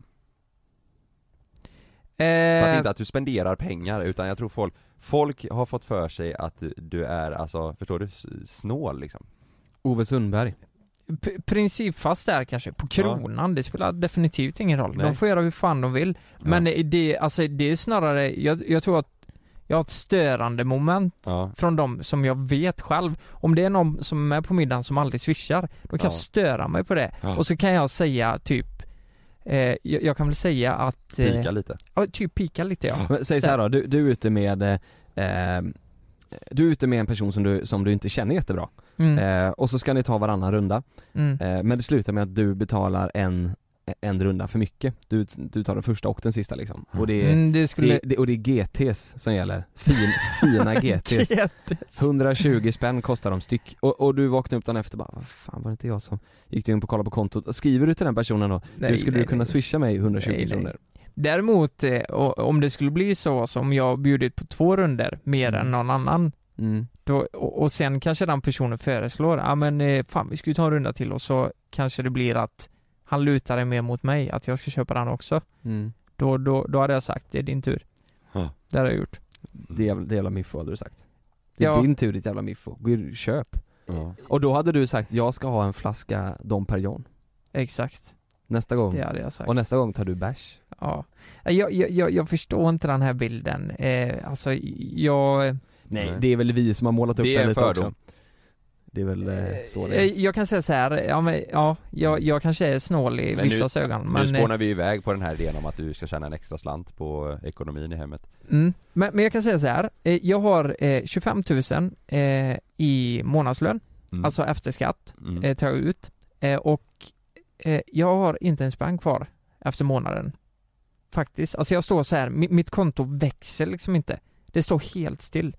Så att eh, inte att du spenderar pengar utan jag tror folk, folk har fått för sig att du- du är alltså, förstår du, S- snål liksom. Ove Sundberg. p- principfast där kanske, på kronan, det spelar definitivt ingen roll. Nej. De får göra hur fan de vill. Men ja. det, alltså det är snarare, jag, jag tror att jag har ett störande moment Ja. från de som jag vet själv. Om det är någon som är med på middagen som aldrig swishar, då kan Ja. jag störa mig på det. Ja. Och så kan jag säga typ, eh, jag, jag kan väl säga att... Eh, Pika lite. ja, typ pika lite ja. Men säg så här då, du, du är ute med eh, eh, du är ute med en person som du, som du inte känner jättebra, Mm, eh, och så ska ni ta varannan runda, mm, Eh, Men det slutar med att du betalar en, en runda för mycket. Du, du tar den första och den sista liksom. Och det är, mm, det skulle... det, det, och det är GTs som gäller. Fin, fina *laughs* GTs. Jättes- 120 spänn kostar de styck. Och, och du vaknar upp dagen efter och bara, vad fan var det inte jag som gick in på kolla på kontot? Skriver du till den personen då, Nej, du skulle nej, du kunna nej. swisha mig 120 Nej, nej. kronor? Däremot, eh, o- om det skulle bli så som jag bjudit på två runder mer än någon annan, Mm. då, och, och sen kanske den personen föreslår, ja men eh, fan vi ska ju ta en runda till och så kanske det blir att han lutar det mer mot mig, att jag ska köpa den också. Mm. Då, då, då hade jag sagt, det är din tur. Ja. Det hade jag gjort. Det, jävla, det jävla miffo hade du sagt. Det är Ja. din tur ditt jävla miffo, gå och köp. Ja. Och då hade du sagt, jag ska ha en flaska Dom Perignon Exakt, nästa gång. det hade jag sagt. Och nästa gång tar du bärs. Ja. Eh, Jag, jag, jag, jag förstår inte den här bilden. Eh, alltså, jag... Nej, Nej. det är väl vi som har målat upp Det är den en lite fördom. också. Det är väl eh, så det är. Eh, Jag kan säga så här, ja, men, ja jag, jag kanske är snål i Men vissas ögon men, nu eh, spånar vi iväg på den här idén om att du ska tjäna en extra slant på eh, ekonomin i hemmet. mm, men, men jag kan säga så här, eh, jag har eh, 25 000 eh, i månadslön, Mm. alltså efter skatt, Mm. eh, tar jag ut eh, och eh, jag har inte en spänn kvar efter månaden. Faktiskt, alltså jag står så här, mi- mitt konto växer liksom inte. Det står helt still.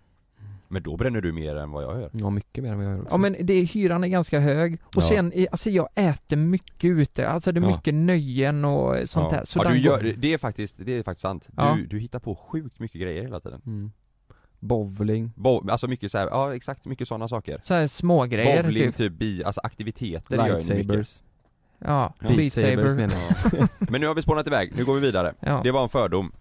Men då bränner du mer än vad jag gör. Ja, mycket mer än vad jag gör också. Ja men det, hyran är ganska hög och Ja. sen, eh, alltså jag äter mycket ute, alltså det är Ja. mycket nöjen och sånt där. Så ja, den du går- gör, det är faktiskt, det är faktiskt sant. Ja. Du, du hittar på sjukt mycket grejer hela tiden. Mm. Bowling. Bo, alltså mycket så här, ja exakt, mycket sådana saker. Så här små grejer Bowling, typ. typ. bi, alltså aktiviteter gör ni mycket. Lightsabers. Ja, Ja. Beat Lightsabers Saber. menar jag. Men nu har vi spånat iväg, nu går vi vidare. Ja. Det var en fördom.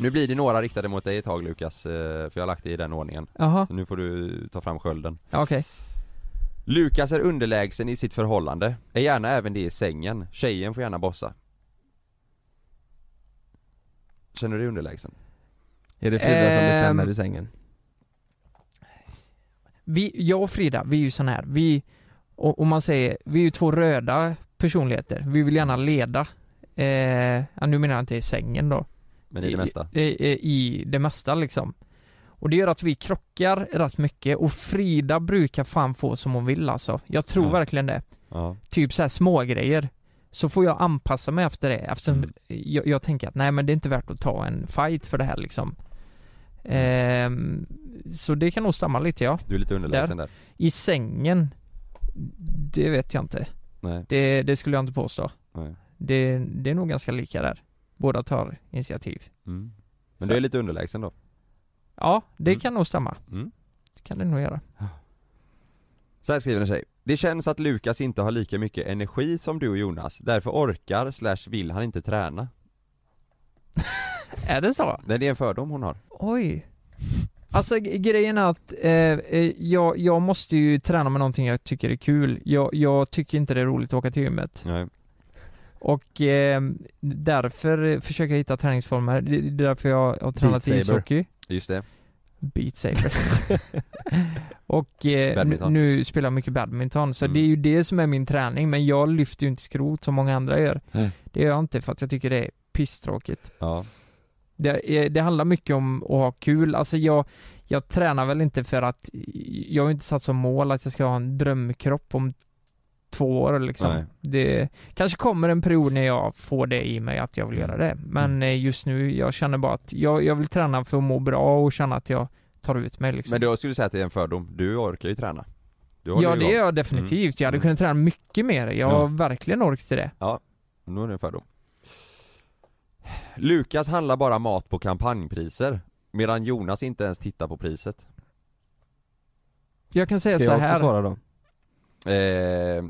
Nu blir det några riktade mot dig ett tag Lukas, eh, för jag har lagt det i den ordningen. Jaha, Så nu får du ta fram skölden. ja, okej. Lukas är underlägsen i sitt förhållande, är gärna även det i sängen. Tjejen får gärna bossa. Känner du dig underlägsen? Är det Frida som bestämmer Ehm. i sängen? Vi, jag och Frida, vi är ju sån här, vi, och, och man säger, vi är ju två röda personligheter, vi vill gärna leda. Eh, ja, nu menar jag inte i sängen då. Men i det mesta? I, i, i det mesta liksom. Och det gör att vi krockar rätt mycket och Frida brukar fan få som hon vill alltså. Jag tror Ja. verkligen det. Ja. typ så här små grejer så får jag anpassa mig efter det eftersom Mm. jag, jag tänker att nej men det är inte värt att ta en fight för det här liksom. Ehm, så det kan nog stämma lite ja. Du är lite underlägsen där. I sängen, det vet jag inte. Nej, Det, det skulle jag inte påstå. nej. Det, det är nog ganska lika där. Båda tar initiativ. Mm. Men du är lite underlägsen då? Ja, det Mm. kan nog stämma. Mm. Det kan det nog göra. Så här skriver en tjej. Det känns att Lukas inte har lika mycket energi som du och Jonas, därför orkar slash vill han inte träna. Är det så? Nej, det är en fördom hon har. Oj. Alltså g- grejen är att eh, eh, jag, jag måste ju träna med någonting jag tycker är kul. Jag, jag tycker inte det är roligt att åka till gymmet. Nej. Och eh, därför eh, försöker jag hitta träningsformer. Det det är därför jag har tränat Saber. ishockey. Just *laughs* det. Beat Saber. och eh, n- Badminton. nu spelar jag mycket badminton. Så Mm. det är ju det som är min träning. Men jag lyfter ju inte skrot som många andra gör. Nej. Det gör jag inte för att jag tycker det är pisstråkigt. Ja. Det, är- det handlar mycket om att ha kul. Alltså jag, jag tränar väl inte för att jag har ju inte satt som mål att jag ska ha en drömkropp om två år Nej. liksom. Det kanske kommer en period när jag får det i mig att jag vill Mm. göra det. Men eh, just nu, jag känner bara att jag, jag vill träna för att må bra och känna att jag tar ut mig liksom. Men då skulle du säga att det är en fördom. Du orkar ju träna. Du håller ja ju det igång. gör jag definitivt. Jag hade Mm. kunnat träna mycket mer. Jag har Ja. verkligen ork till det. Nu är det en fördom. Lukas handlar bara mat på kampanjpriser, medan Jonas inte ens tittar på priset. Jag kan säga Ska så jag också här. svara då? Eh,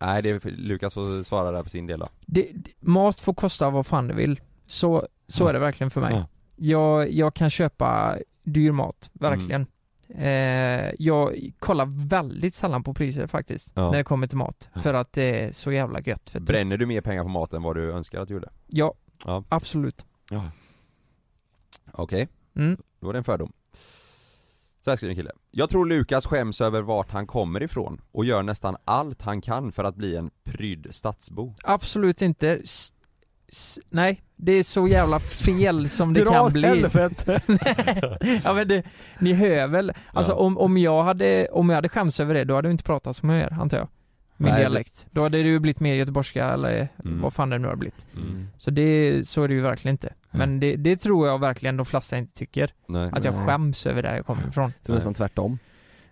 nej, det är för, Lukas får svara där på sin del då. det, det- mat får kosta vad fan det vill. Så, så är det verkligen för mig. Ja. Jag, jag kan köpa dyr mat, Mm. verkligen. Eh, jag kollar väldigt sällan på priser faktiskt, Ja. när det kommer till mat. För att det är så jävla gött. För Bränner du mer pengar på mat än vad du önskar att du gjorde? Ja, Ja. absolut. Okej, Mm. då är det en fördom. Så här skriver en kille. Jag tror Lukas skäms över vart han kommer ifrån och gör nästan allt han kan för att bli en prydd stadsbo. Absolut inte. S- s- nej, det är så jävla fel som det kan bli. helvete! *laughs* ja men det, ni hör väl? Alltså Ja. om, om jag hade, om jag hade skämts över det, då hade vi inte pratat som jag gör, antar jag. min Nej, dialekt. Då hade det ju blivit mer göteborgska eller Mm. vad fan det nu har blivit. Mm. Så det, så är det ju verkligen inte. Men det, det tror jag verkligen de flesta inte tycker. Nej. Att jag Nej. skäms över där jag kommer ifrån. Jag tror nästan tvärtom.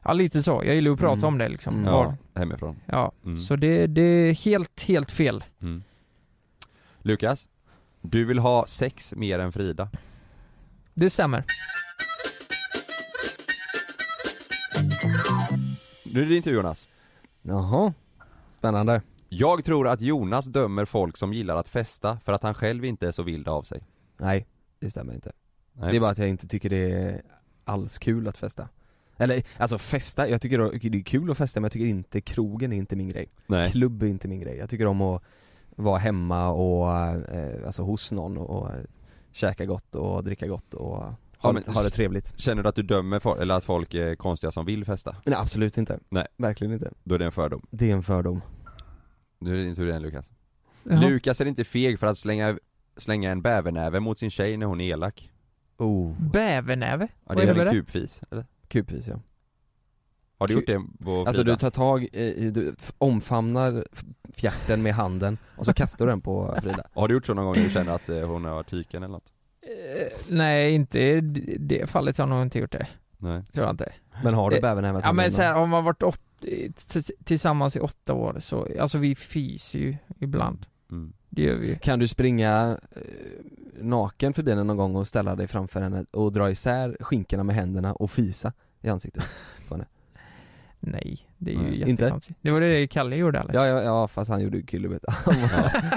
Ja lite så, jag gillar ju att prata Mm. om det liksom. Mm. Ja, Ja, hemifrån. ja. Mm. så det, det är helt, helt fel. Mm. Lukas, du vill ha sex mer än Frida. Det stämmer. Nu är det inte Jonas. Jaha. Spännande. Jag tror att Jonas dömer folk som gillar att festa för att han själv inte är så vild av sig. Nej, det stämmer inte. Nej. Det är bara att jag inte tycker det är alls kul att festa. Eller alltså festa, jag tycker det är kul att festa men jag tycker inte krogen är inte min grej. Nej. Klubb är inte min grej. Jag tycker om att vara hemma och, eh, alltså hos någon och eh, käka gott och dricka gott och ha, Ja, men- ha det trevligt. Känner du att du dömer folk, eller att folk är konstiga som vill festa? Nej absolut inte. Nej. Verkligen inte. Då är det en fördom. Det är en fördom. Nu är det din tur igen Lukas. Jaha. Lukas är inte feg för att slänga, slänga en bävernäve mot sin tjej när hon är elak. Oh, Bävernäve? Ja, Vad det är väl innebär en det? kupfis, eller? kupvis ja. Har du Ku- gjort det på Alltså Frida? du tar tag, i, du f- omfamnar f- fjärten med handen och så kastar du den på Frida. Har du gjort så någon gång när du känner att eh, hon har varit tyken eller något? Eh, Nej, inte i d- det fallet har jag nog inte gjort det. Nej. Tror jag inte. Men har du Eh, bävernäven? Ja men så här, har man varit åt, t- tillsammans i åtta år så, alltså vi fiser ju ibland. Mm. Det gör vi ju. Kan du springa eh, naken förbi henne någon gång och ställa dig framför henne och dra isär skinkorna med händerna och fisa i ansiktet? Nej, det är ju Nej, inte? jättekonstigt. Det var det Kalle gjorde eller? *laughs* Ja, ja, ja fast *laughs* han gjorde ju kullerbytta.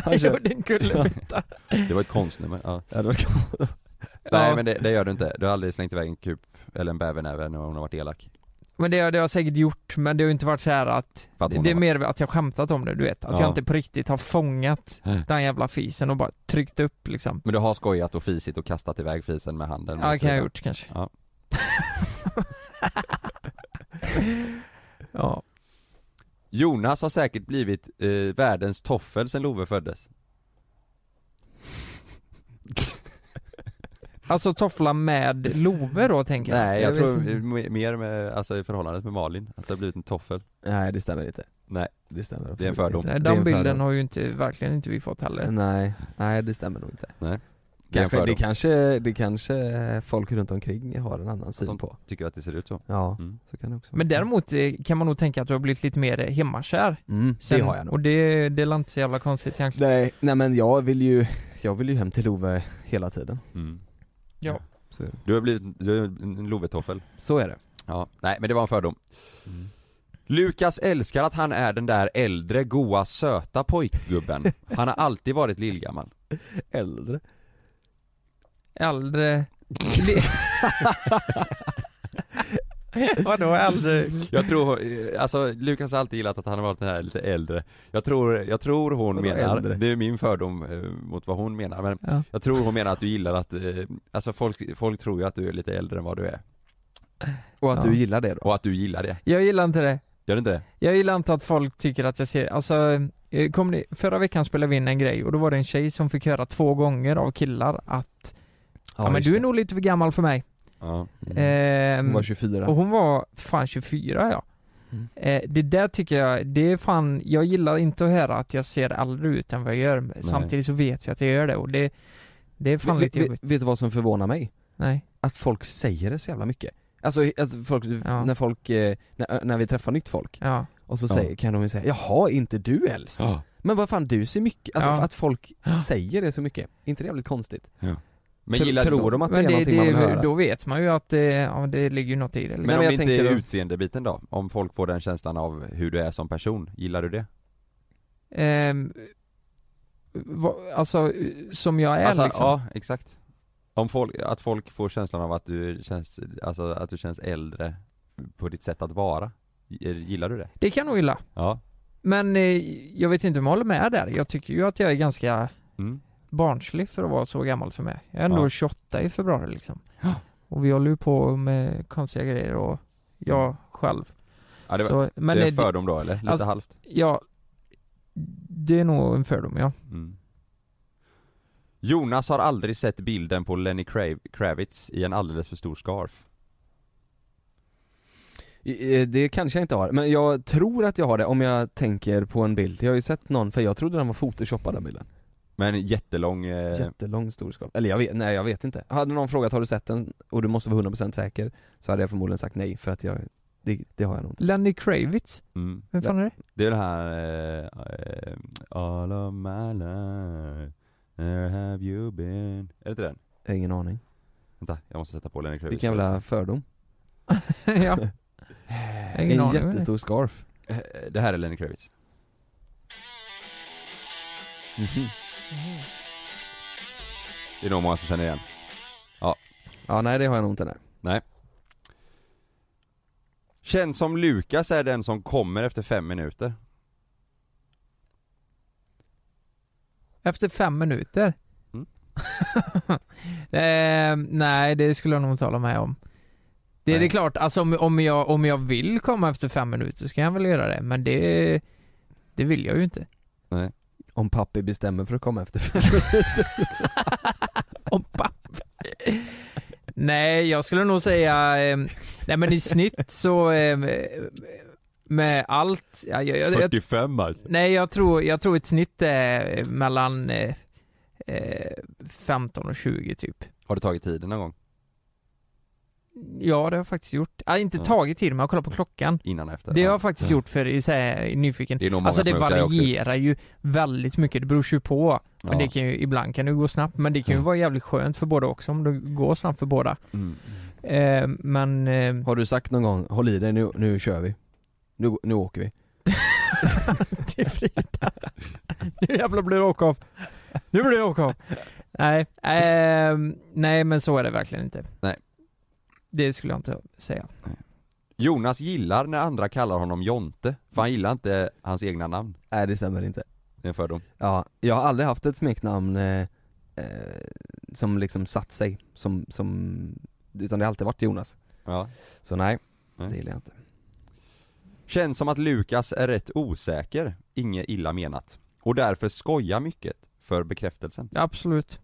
Han gjorde en kullerbytta. Det var ett konstnummer, ja. Ja, det var kul. Nej men det, det gör du inte, du har aldrig slängt iväg en kup eller en bävernäve när hon har varit elak? Men det, har- det har jag säkert gjort, men det har ju inte varit så här att För att hon Det är har- mer att jag skämtat om det, du vet. Att Ja. jag inte på riktigt har fångat Nej. den jävla fisen och bara tryckt upp liksom. Men du har skojat och fisit och kastat iväg fisen med handen? Ja, det mot kan jag ha Frida. gjort kanske. Ja. *laughs* ja. Jonas har säkert blivit eh, världens toffel sen Love föddes Alltså toffla med Love då tänker jag. Nej jag, vet tror inte. m- mer med, alltså i förhållandet med Malin, att det har blivit en toffel Nej det stämmer inte. Nej. Det stämmer absolut Det är en fördom. inte. Nej, Det är den en Mm. bilden fördom. har ju inte, verkligen inte vi fått heller. Nej, nej det stämmer nog inte. Det är en Kanske, det, fördom. kanske, det kanske folk runt omkring har en annan syn de- på. Tycker att det ser ut så? Ja, Mm. så kan det också vara. Men däremot eh, kan man nog tänka att du har blivit lite mer eh, hemmakär. mm, sen. det har jag nog. Och det, det är inte så jävla konstigt egentligen. Nej, nej men jag vill ju, jag vill ju hem till Love hela tiden. Mm. Ja. Så är det. Du har blivit, du är en Love-toffel Så är det. Ja, nej men det var en fördom Mm. Lukas älskar att han är den där äldre, goa, söta pojkgubben Han har alltid varit lillgammal Äldre. Äldre... *laughs* Vadå äldre? Jag tror, eh, alltså Lukas har alltid gillat att han har varit den här lite äldre Jag tror, jag tror hon Vadå menar, äldre? det är min fördom eh, mot vad hon menar men Ja. Jag tror hon menar att du gillar att, eh, alltså folk, folk tror ju att du är lite äldre än vad du är Och att Ja. du gillar det då? Och att du gillar det, Jag gillar inte det. gör du inte det? Jag gillar inte att folk tycker att jag ser, alltså, eh, kom ni, förra veckan spelade vi in en grej och då var det en tjej som fick höra två gånger av killar att ja, men just du är det. Mm. nog lite för gammal för mig. Ja, Eh, Ehm, Hon var 24. och hon var fan 24 ja. Mm. Eh, det där tycker jag, det är fan, jag gillar inte att höra att jag ser äldre ut än vad jag gör. Samtidigt så vet jag att jag gör det och det, det är fan Vet- lite vet- jobbigt. Vet du vad som förvånar mig? Nej. Att folk säger det så jävla mycket. Alltså, alltså folk, Ja. när folk, eh, när, när vi träffar nytt folk, Ja. och så Ja. säger, kan de ju säga 'Jaha, inte du äldst?' ja. Men vad fan, du ser mycket, alltså Ja. att folk säger det så mycket. inte det jävligt konstigt? Men Tro- gillar du tror de att det är Men det, någonting man vill det, höra? då vet man ju att det, ja, det ligger ju något i det. Liksom. Men men om jag det inte tänker är då- utseenderbiten då? Om folk får den känslan av hur du är som person, gillar du det? Ehm, va, alltså, som jag är alltså, liksom. ja, exakt Om folk, att folk får känslan av att du känns, alltså att du känns äldre på ditt sätt att vara Gillar du det? Det kan jag nog gilla. Ja Men eh, jag vet inte om jag håller med där. Jag tycker ju att jag är ganska mm. barnslig för att vara så gammal som jag är. Jag är ändå Ja. 28 i februari liksom. Ja. Och vi håller ju på med konstiga grejer och jag själv. Mm. Ja det var, så, men det är eh, en fördom då eller? Lite Alltså- halvt? ja, det är nog en fördom ja. Mm. Jonas har aldrig sett bilden på Lenny Krav- Kravitz i en alldeles för stor scarf Eh, Det kanske jag inte har, men jag tror att jag har det om jag tänker på en bild. Jag har ju sett någon, för jag trodde den var photoshoppad den bilden. Men jättelång, eh, Jättelång storskap. Eller jag vet, nej jag vet inte. Hade någon frågat har du sett den och du måste vara 100% säker, så hade jag förmodligen sagt nej för att jag, det, det har jag nog inte. Lenny Kravitz? mm. Vem fan är det? *laughs* Det är det här eh, eh, All of my life, where have you been? Är det inte den? Jag har Ingen aning. Vänta, jag måste sätta på Lenny Kravitz Vilken jävla fördom. ja, ingen en aning vem det är. jättestor scarf. Eh, Det här är Lenny Kravitz Mhm. Det är nog många som känner igen Ja nej det har jag nog inte nej. Känns som Lukas är den som kommer efter fem minuter Efter fem minuter? *laughs* Mm. eh, nej, det skulle jag nog inte hålla med om. Det är Nej. det klart, alltså om, om, jag, om jag vill komma efter fem minuter så kan jag väl göra det, men det, det vill jag ju inte. Om pappi bestämmer för att komma efter *laughs* Om papp. nej, jag skulle nog säga, eh, nej men i snitt så, eh, med allt, ja, jag, jag, jag, 45 alltså Nej, jag tror, jag tror ett snitt är mellan eh, eh, 15 och 20 typ. Har du tagit tiden någon gång? Ja, det har jag faktiskt gjort. Ah, inte Ja. tagit tid, men jag har kollat på klockan. Innan och efter? Det har Ja. jag faktiskt gjort för i så här, nyfiken. Det är nog många Alltså som det har gjort också. varierar ju väldigt mycket, det beror ju på. Men Ja. det kan ju, ibland kan det ju gå snabbt, men det kan ju Ja. vara jävligt skönt för båda också om det går snabbt för båda. Mm. Eh, men... *laughs* Eh, *laughs* Har du sagt någon gång, håll i dig nu, nu kör vi. Nu, nu åker vi. till Frida. Nu jävlar blir det åka av. Nu blir det åka av. Nej, ehm, nej men så är det verkligen inte. Nej. Det skulle jag inte säga. Jonas gillar när andra kallar honom Jonte, för han gillar inte hans egna namn Nej det stämmer inte. Det är en fördom Ja, jag har aldrig haft ett smeknamn eh, eh, som liksom satt sig, som, som, utan det har alltid varit Jonas. ja. Så nej, Nej. det gillar jag inte. *laughs* Känns som att Lukas är rätt osäker, inget illa menat Och därför skojar mycket för bekräftelsen Absolut.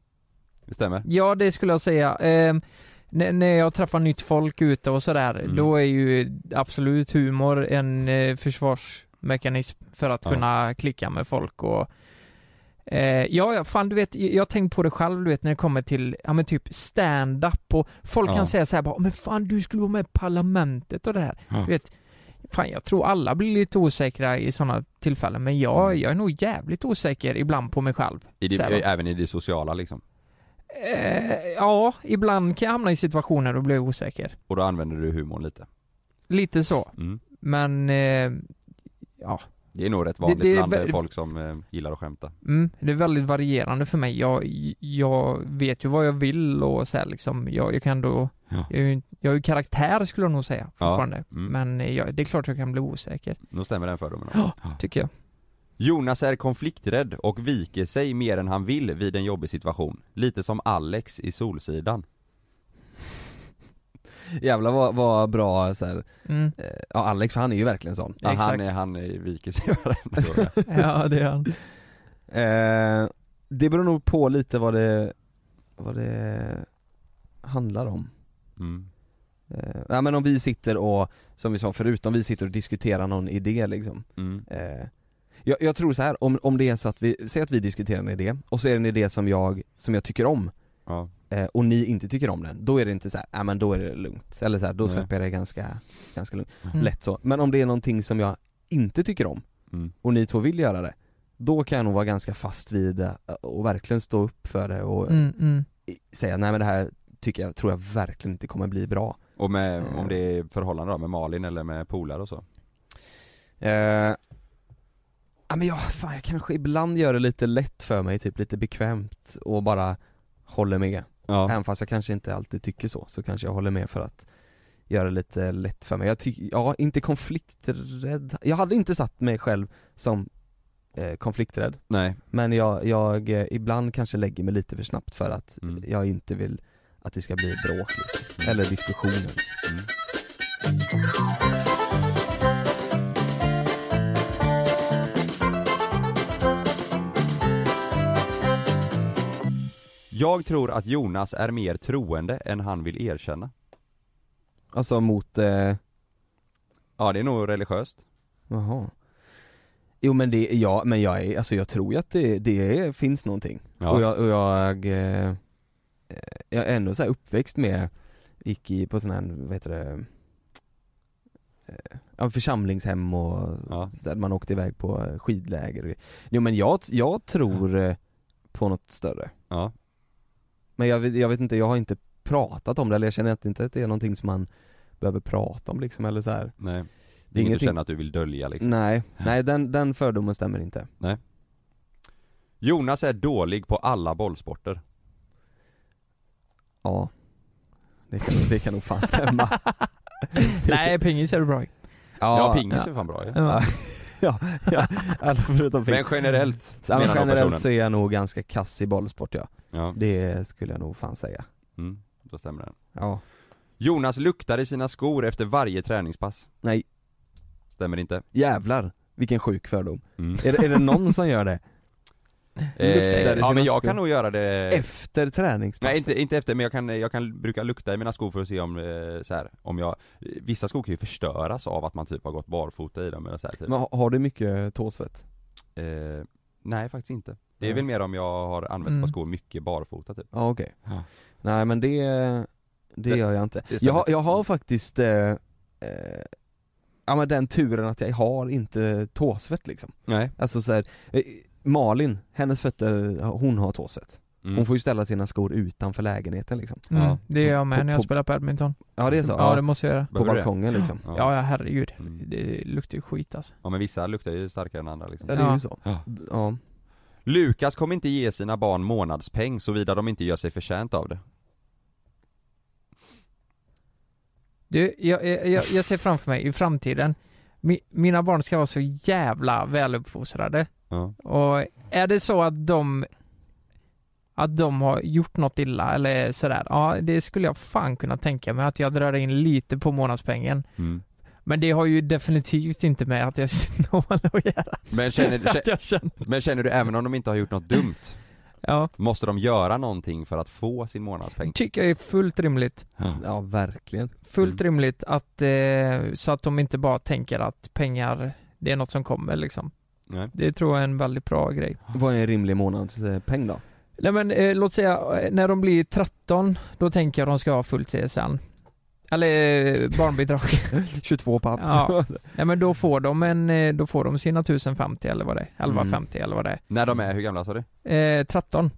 Det stämmer? Ja, det skulle jag säga. Ehm, när, när jag träffar nytt folk ute och sådär, Mm. då är ju absolut humor en eh, försvarsmekanism för att Ja. kunna klicka med folk och Eh, ja, ja, fan du vet, jag jag har tänkt på det själv du vet när det kommer till, ja men typ stand-up och folk Ja. kan säga så här bara, men fan du skulle vara med i Parlamentet och det här. Ja. Du vet, fan jag tror alla blir lite osäkra i sådana tillfällen men jag, Mm. jag är nog jävligt osäker ibland på mig själv. I det, Så här, va? även i det sociala liksom Eh, ja, ibland kan jag hamna i situationer och bli osäker. Och då använder du humorn lite Lite så, mm. men eh, ja, Det är nog rätt vanligt det är bland vä- folk som eh, gillar att skämta mm, det är väldigt varierande för mig. Jag, jag vet ju vad jag vill och så här, liksom, jag, jag kan då, Ja. jag, är ju- jag är ju karaktär skulle jag nog säga fortfarande. mm. Men eh, jag, det är klart jag kan bli osäker, Då stämmer den fördomen också. Ja. tycker jag. Jonas är konflikträdd och viker sig mer än han vill vid en jobbig situation Lite som Alex i Solsidan Jävlar vad, vad bra så här, Mm, eh, ja Alex för han är ju verkligen sån. ja, han, Exakt. är- han är- viker sig *laughs* varenda gång. *laughs* *laughs* ja, det är han. Eh, det beror nog på lite vad det, vad det handlar om. mm. Eh, nej men om vi sitter och, som vi sa förut, om vi sitter och diskuterar någon idé liksom. Mm. Eh, jag, jag tror så här om, om det är så att vi, säg att vi diskuterar en idé och så är det en idé som jag, som jag tycker om Ja. eh, och ni inte tycker om den, då är det inte så här, nej men då är det lugnt. Eller så här, då Nej. släpper jag det ganska, ganska lugnt. Mm. lätt så. Men om det är någonting som jag inte tycker om Mm. och ni två vill göra det, då kan jag nog vara ganska fast vid det och verkligen stå upp för det och Mm, mm. i- säga nej men det här tycker jag, tror jag verkligen inte kommer bli bra. Och med, om det är förhållande då, med Malin eller med polare och så Eh, ja men jag, fan, jag kanske ibland gör det lite lätt för mig, typ lite bekvämt och bara håller med. Ja, Även fast jag kanske inte alltid tycker så, så kanske jag håller med för att göra det lite lätt för mig. Jag tycker, ja inte konflikträdd. Jag hade inte satt mig själv som eh, konflikträdd, nej men jag, jag eh, ibland kanske lägger mig lite för snabbt för att Mm. jag inte vill att det ska bli bråk liksom. eller diskussioner. Jag tror att Jonas är mer troende än han vill erkänna Alltså mot, eh, Ja det är nog religiöst. Jaha Jo men det, ja men jag är, alltså jag tror ju att det, det är, finns någonting Ja. och jag, och jag, eh, eh, jag är ändå så här uppväxt med, gick i, på sån här, vad heter det, eh, ja, församlingshem och Ja. där man åkte iväg på eh, skidläger och grejer. Jo men jag, jag tror eh, på något större Ja. Men jag, vet- jag vet inte, jag har inte pratat om det eller jag känner att inte att det är någonting som man behöver prata om liksom eller så här. Nej. Det är inget du Ingenting. Mm. känner att du vill dölja liksom. Nej, nej den, den fördomen stämmer inte Jonas är dålig på alla bollsporter. Ja Det kan, det kan nog fan *laughs* stämma *laughs* Nej, pingis är du bra i. Ja, pingis är fan bra ju. Ja. ja, ja, alla förutom Men pingis generellt, Så, men menar den personen. generellt så är jag nog ganska kass i bollsport ja, Ja, det skulle jag nog fan säga mm, då stämmer det. Ja, Jonas luktar i sina skor efter varje träningspass. nej Stämmer inte. jävlar vilken sjuk fördom Mm. Är, det- är det någon som gör det? Eh, Luktar i ja sina men jag skor. kan nog göra det Efter träningspass? Nej inte, inte efter, men jag kan, jag kan brukar lukta i mina skor för att se om, eh, så här, om jag Vissa skor kan ju förstöras av att man typ har gått barfota i dem eller så här, typ. Men har- har du mycket tåsvett? eh, Nej faktiskt inte Det är Nej. väl mer om jag har använt Mm. ett par skor mycket barfota typ Ja okej Ja. Nej men det, det Det- gör jag inte det stämmer. jag, har- jag har faktiskt eh, eh, Ja men den turen att jag har inte tåsvett liksom Nej Alltså så här, eh, Malin, hennes fötter, hon har tåsvett mm. Hon får ju ställa sina skor utanför lägenheten liksom Mm, Ja. Det gör jag med när jag På- på- spelar badminton. Ja det är så? Ja, Ja, det måste jag göra. på Behöver du det? balkongen liksom Ja. Ja, Ja. ja herregud. Mm. Det luktar ju skit alltså. men vissa luktar ju starkare än andra liksom Ja det är Ja. ju så Ja. Ja, Lukas kommer inte ge sina barn månadspeng såvida de inte gör sig förtjänt av det Du, jag, jag, jag, jag ser framför mig i framtiden, mi, mina barn ska vara så jävla väluppfostrade. Ja, Och är det så att de att de har gjort något illa eller sådär, ja det skulle jag fan kunna tänka mig att jag drar in lite på månadspengen. mm. Men det har ju definitivt inte med att jag *laughs* är snål att göra. men, känner, *laughs* *laughs* Att jag känner, kä- men känner du även om de inte har gjort något dumt, ja, måste de göra någonting för att få sin månadspeng? tycker jag är fullt rimligt. ja verkligen Fullt rimligt att, eh, så att de inte bara tänker att pengar, det är något som kommer liksom. Nej. Det tror jag är en väldigt bra grej. Vad är en rimlig månadspeng då? Nej men eh, låt säga, eh, när de blir 13, då tänker jag de ska ha fullt CSN. Eller eh, *laughs* barnbidrag. 22 papp Ja. Nej men då får de en, eh, då får de sina 1050 eller vad det är, 1150 Mm. eller vad det När de är, hur gamla sa du? är. Eh, 13.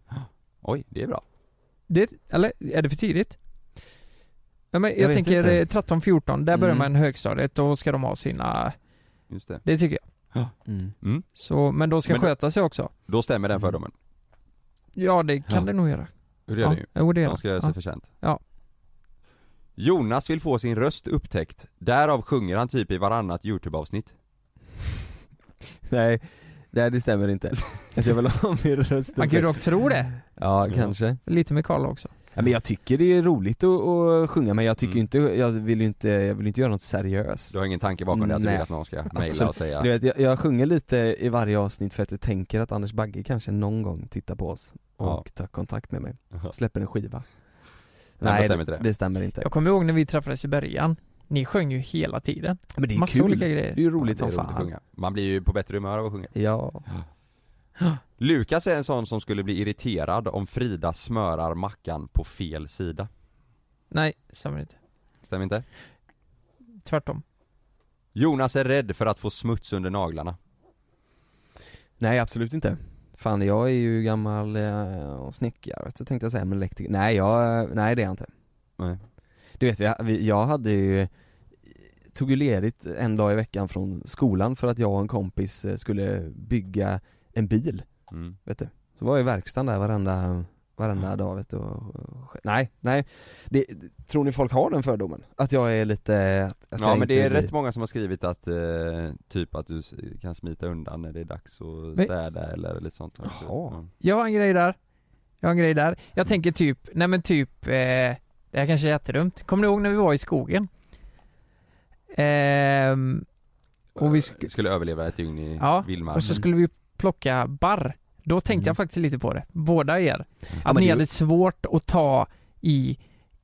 Oj, det är bra. Det, eller är det för tidigt? Nej men jag, Jag vet tänker inte. eh, 13, 14, där börjar Mm. man högstadiet, då ska de ha sina, Just det. det tycker jag. *laughs* mm. Så, men de ska Men då- sköta sig också. Då stämmer den fördomen. Ja det kan Ja. det nog göra. Hur ja. Jo, det gör De ska göra sig ja. förtjänt. Ja. Jonas vill få sin röst upptäckt, därav sjunger han typ i varannat YouTube-avsnitt. Nej, nej det stämmer inte Jag vill ha min röst Man kan ju dock tro det. Ja Ja. kanske Lite med Karl också. ja, men jag tycker det är roligt att, att sjunga men jag tycker Mm. inte, jag vill ju inte, jag vill inte göra något seriöst Du har ingen tanke bakom det att du Nej. vill att någon ska mejla och säga Du vet, jag, jag sjunger lite i varje avsnitt för att jag tänker att Anders Bagge kanske någon gång tittar på oss och Ja. tar kontakt med mig, Nej, släpper en skiva Nej det stämmer inte det. det stämmer inte Jag kommer ihåg när vi träffades i början. Ni sjöng ju hela tiden. Men det är Massa kul, olika det grejer. är ju roligt som Det är roligt att fan sjunga. Man blir ju på bättre humör av att sjunga. Ja, Lukas är en sån som skulle bli irriterad om Frida smörar mackan på fel sida. Nej, stämmer inte. Stämmer inte? Tvärtom. Jonas är rädd för att få smuts under naglarna. nej absolut inte Fan jag är ju gammal eh, snickare, så tänkte jag säga men elektriker, nej jag, nej det är jag inte Nej. Du vet, jag, vi- jag hade ju Tog ju ledigt en dag i veckan från skolan för att jag och en kompis eh, skulle bygga en bil, Mm. vet du Så var jag i verkstaden där varenda, varenda dag vet du och, och- Nej, nej det, Tror ni folk har den fördomen? Att jag är lite, att, att Ja jag men inte det är vill- rätt många som har skrivit att eh, typ att du s- kan smita undan när det är dags att Men- städa eller lite sånt Typ. Jaha. Jag har en grej där. Jag har en grej där. Mm. Jag tänker typ, nej men typ, eh, det här kanske är jättedumt. Kommer ni ihåg när vi var i skogen? Ehm, Och Och vi vi sk- sk- skulle överleva ett dygn i Ja, vildmarken och så skulle vi plocka barr. Då tänkte jag faktiskt lite på det, båda er. Att Mm. men ni det- hade svårt att ta i,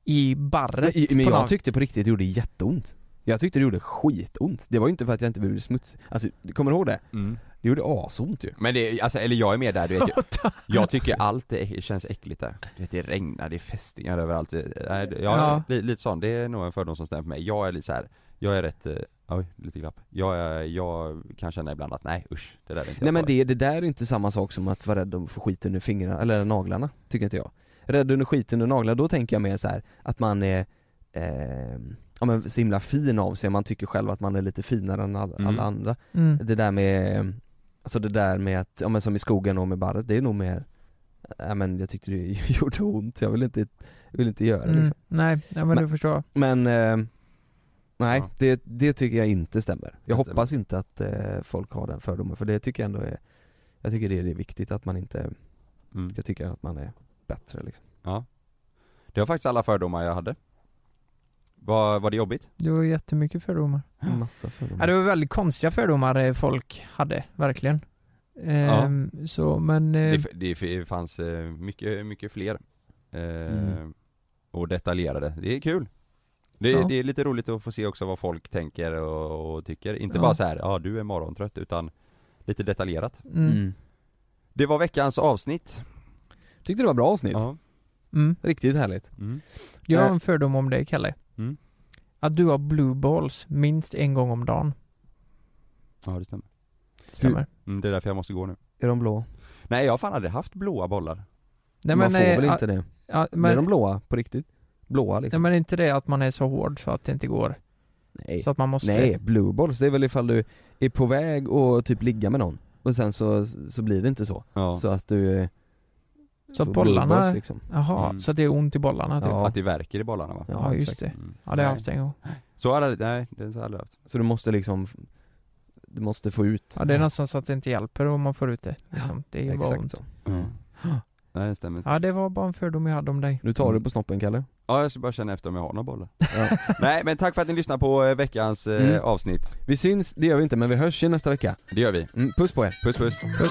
i barret Men, men på jag något. tyckte på riktigt det gjorde jätteont Jag tyckte det gjorde skitont, det var ju inte för att jag inte ville bli smutsig, alltså kommer du ihåg det? Det gjorde asont ju Mm. Men det, alltså, eller jag är med där du vet *laughs* jag, jag tycker allt är, känns äckligt där du vet, Det regnar, det är fästingar överallt Eh, Nej, det- jag, Ja. li, Lite sån, det är nog en fördom som stämmer på mig Jag är lite så här. jag är rätt, eh, oj, lite glapp jag, är- jag kan känna ibland att nej usch, det där är inte Nej jag men för. det, det där är inte samma sak som att vara rädd om att få skit under fingrarna, eller naglarna, tycker inte jag Rädd under skit under naglarna, då tänker jag mer så här att man är eh, Ja men så himla fin av sig, man tycker själv att man är lite finare än all, Mm. alla andra Mm. Det där med, alltså det där med att, ja men som i skogen och med barret, det är nog mer Ja men jag tyckte det *laughs* gjorde ont, jag vill inte, jag vill inte göra det Mm. liksom. Nej, nej, men Men- du förstår. Men, eh, nej Ja. det, det tycker jag inte stämmer. Jag Det stämmer. hoppas inte att eh, folk har den fördomen för det tycker jag ändå är Jag tycker det är det är viktigt att man inte mm. ska tycka att man är bättre liksom. det var faktiskt alla fördomar jag hade Var, var det jobbigt? Det var jättemycket fördomar. Massa Ja, fördomar. det var väldigt konstiga fördomar eh, folk hade, verkligen. Ehm, Så, men... eh, Det, f- det f- fanns eh, mycket, mycket fler eh, Mm. Och detaljerade, det är kul det, Ja. det är lite roligt att få se också vad folk tänker och, och tycker, inte Ja. bara så här, ja du är morgontrött utan lite detaljerat mm, mm. mm. Det var veckans avsnitt Tyckte det var bra avsnitt. Ja, Riktigt härligt. mm. Jag har Eh. en fördom om dig, Kalle. Mm. Att du har blue balls minst en gång om dagen. ja det stämmer Stämmer. mm, Det är därför jag måste gå nu Är de blå? Nej jag har fan aldrig haft blåa bollar Nej, man får eh, väl ja, inte det? ja, Men... Är men, de blåa på riktigt? Blåa nej, liksom? men inte det att man är så hård så att det inte går. Nej. Så att man måste... Nej, blue balls, det är väl ifall du är på väg att typ ligga med någon och sen så, så blir det inte så. Ja, Så att du eh, Så att får bollarna- blue balls, liksom. Jaha, Mm. så att det är ont i bollarna typ. Ja. Ja, att det verkar i bollarna va? Ja, just exakt. det. Mm. Ja, det har jag nej. haft en gång. Så har jag aldrig- nej det har jag aldrig haft Så du måste liksom, du måste få ut Ja, det är nästan så att det inte hjälper om man får ut det. Liksom. Det är ju bara Exakt ont. så. Nej det stämmer Ja, det var bara en fördom jag hade om dig. Nu tar du på snoppen Kalle. Ja jag ska bara känna efter om jag har några bollar Ja. *laughs* Nej men tack för att ni lyssnar på eh, veckans eh, Mm. avsnitt Vi syns, det gör vi inte men vi hörs ju nästa vecka. Det gör vi. Mm, puss på er. Puss puss. Puss.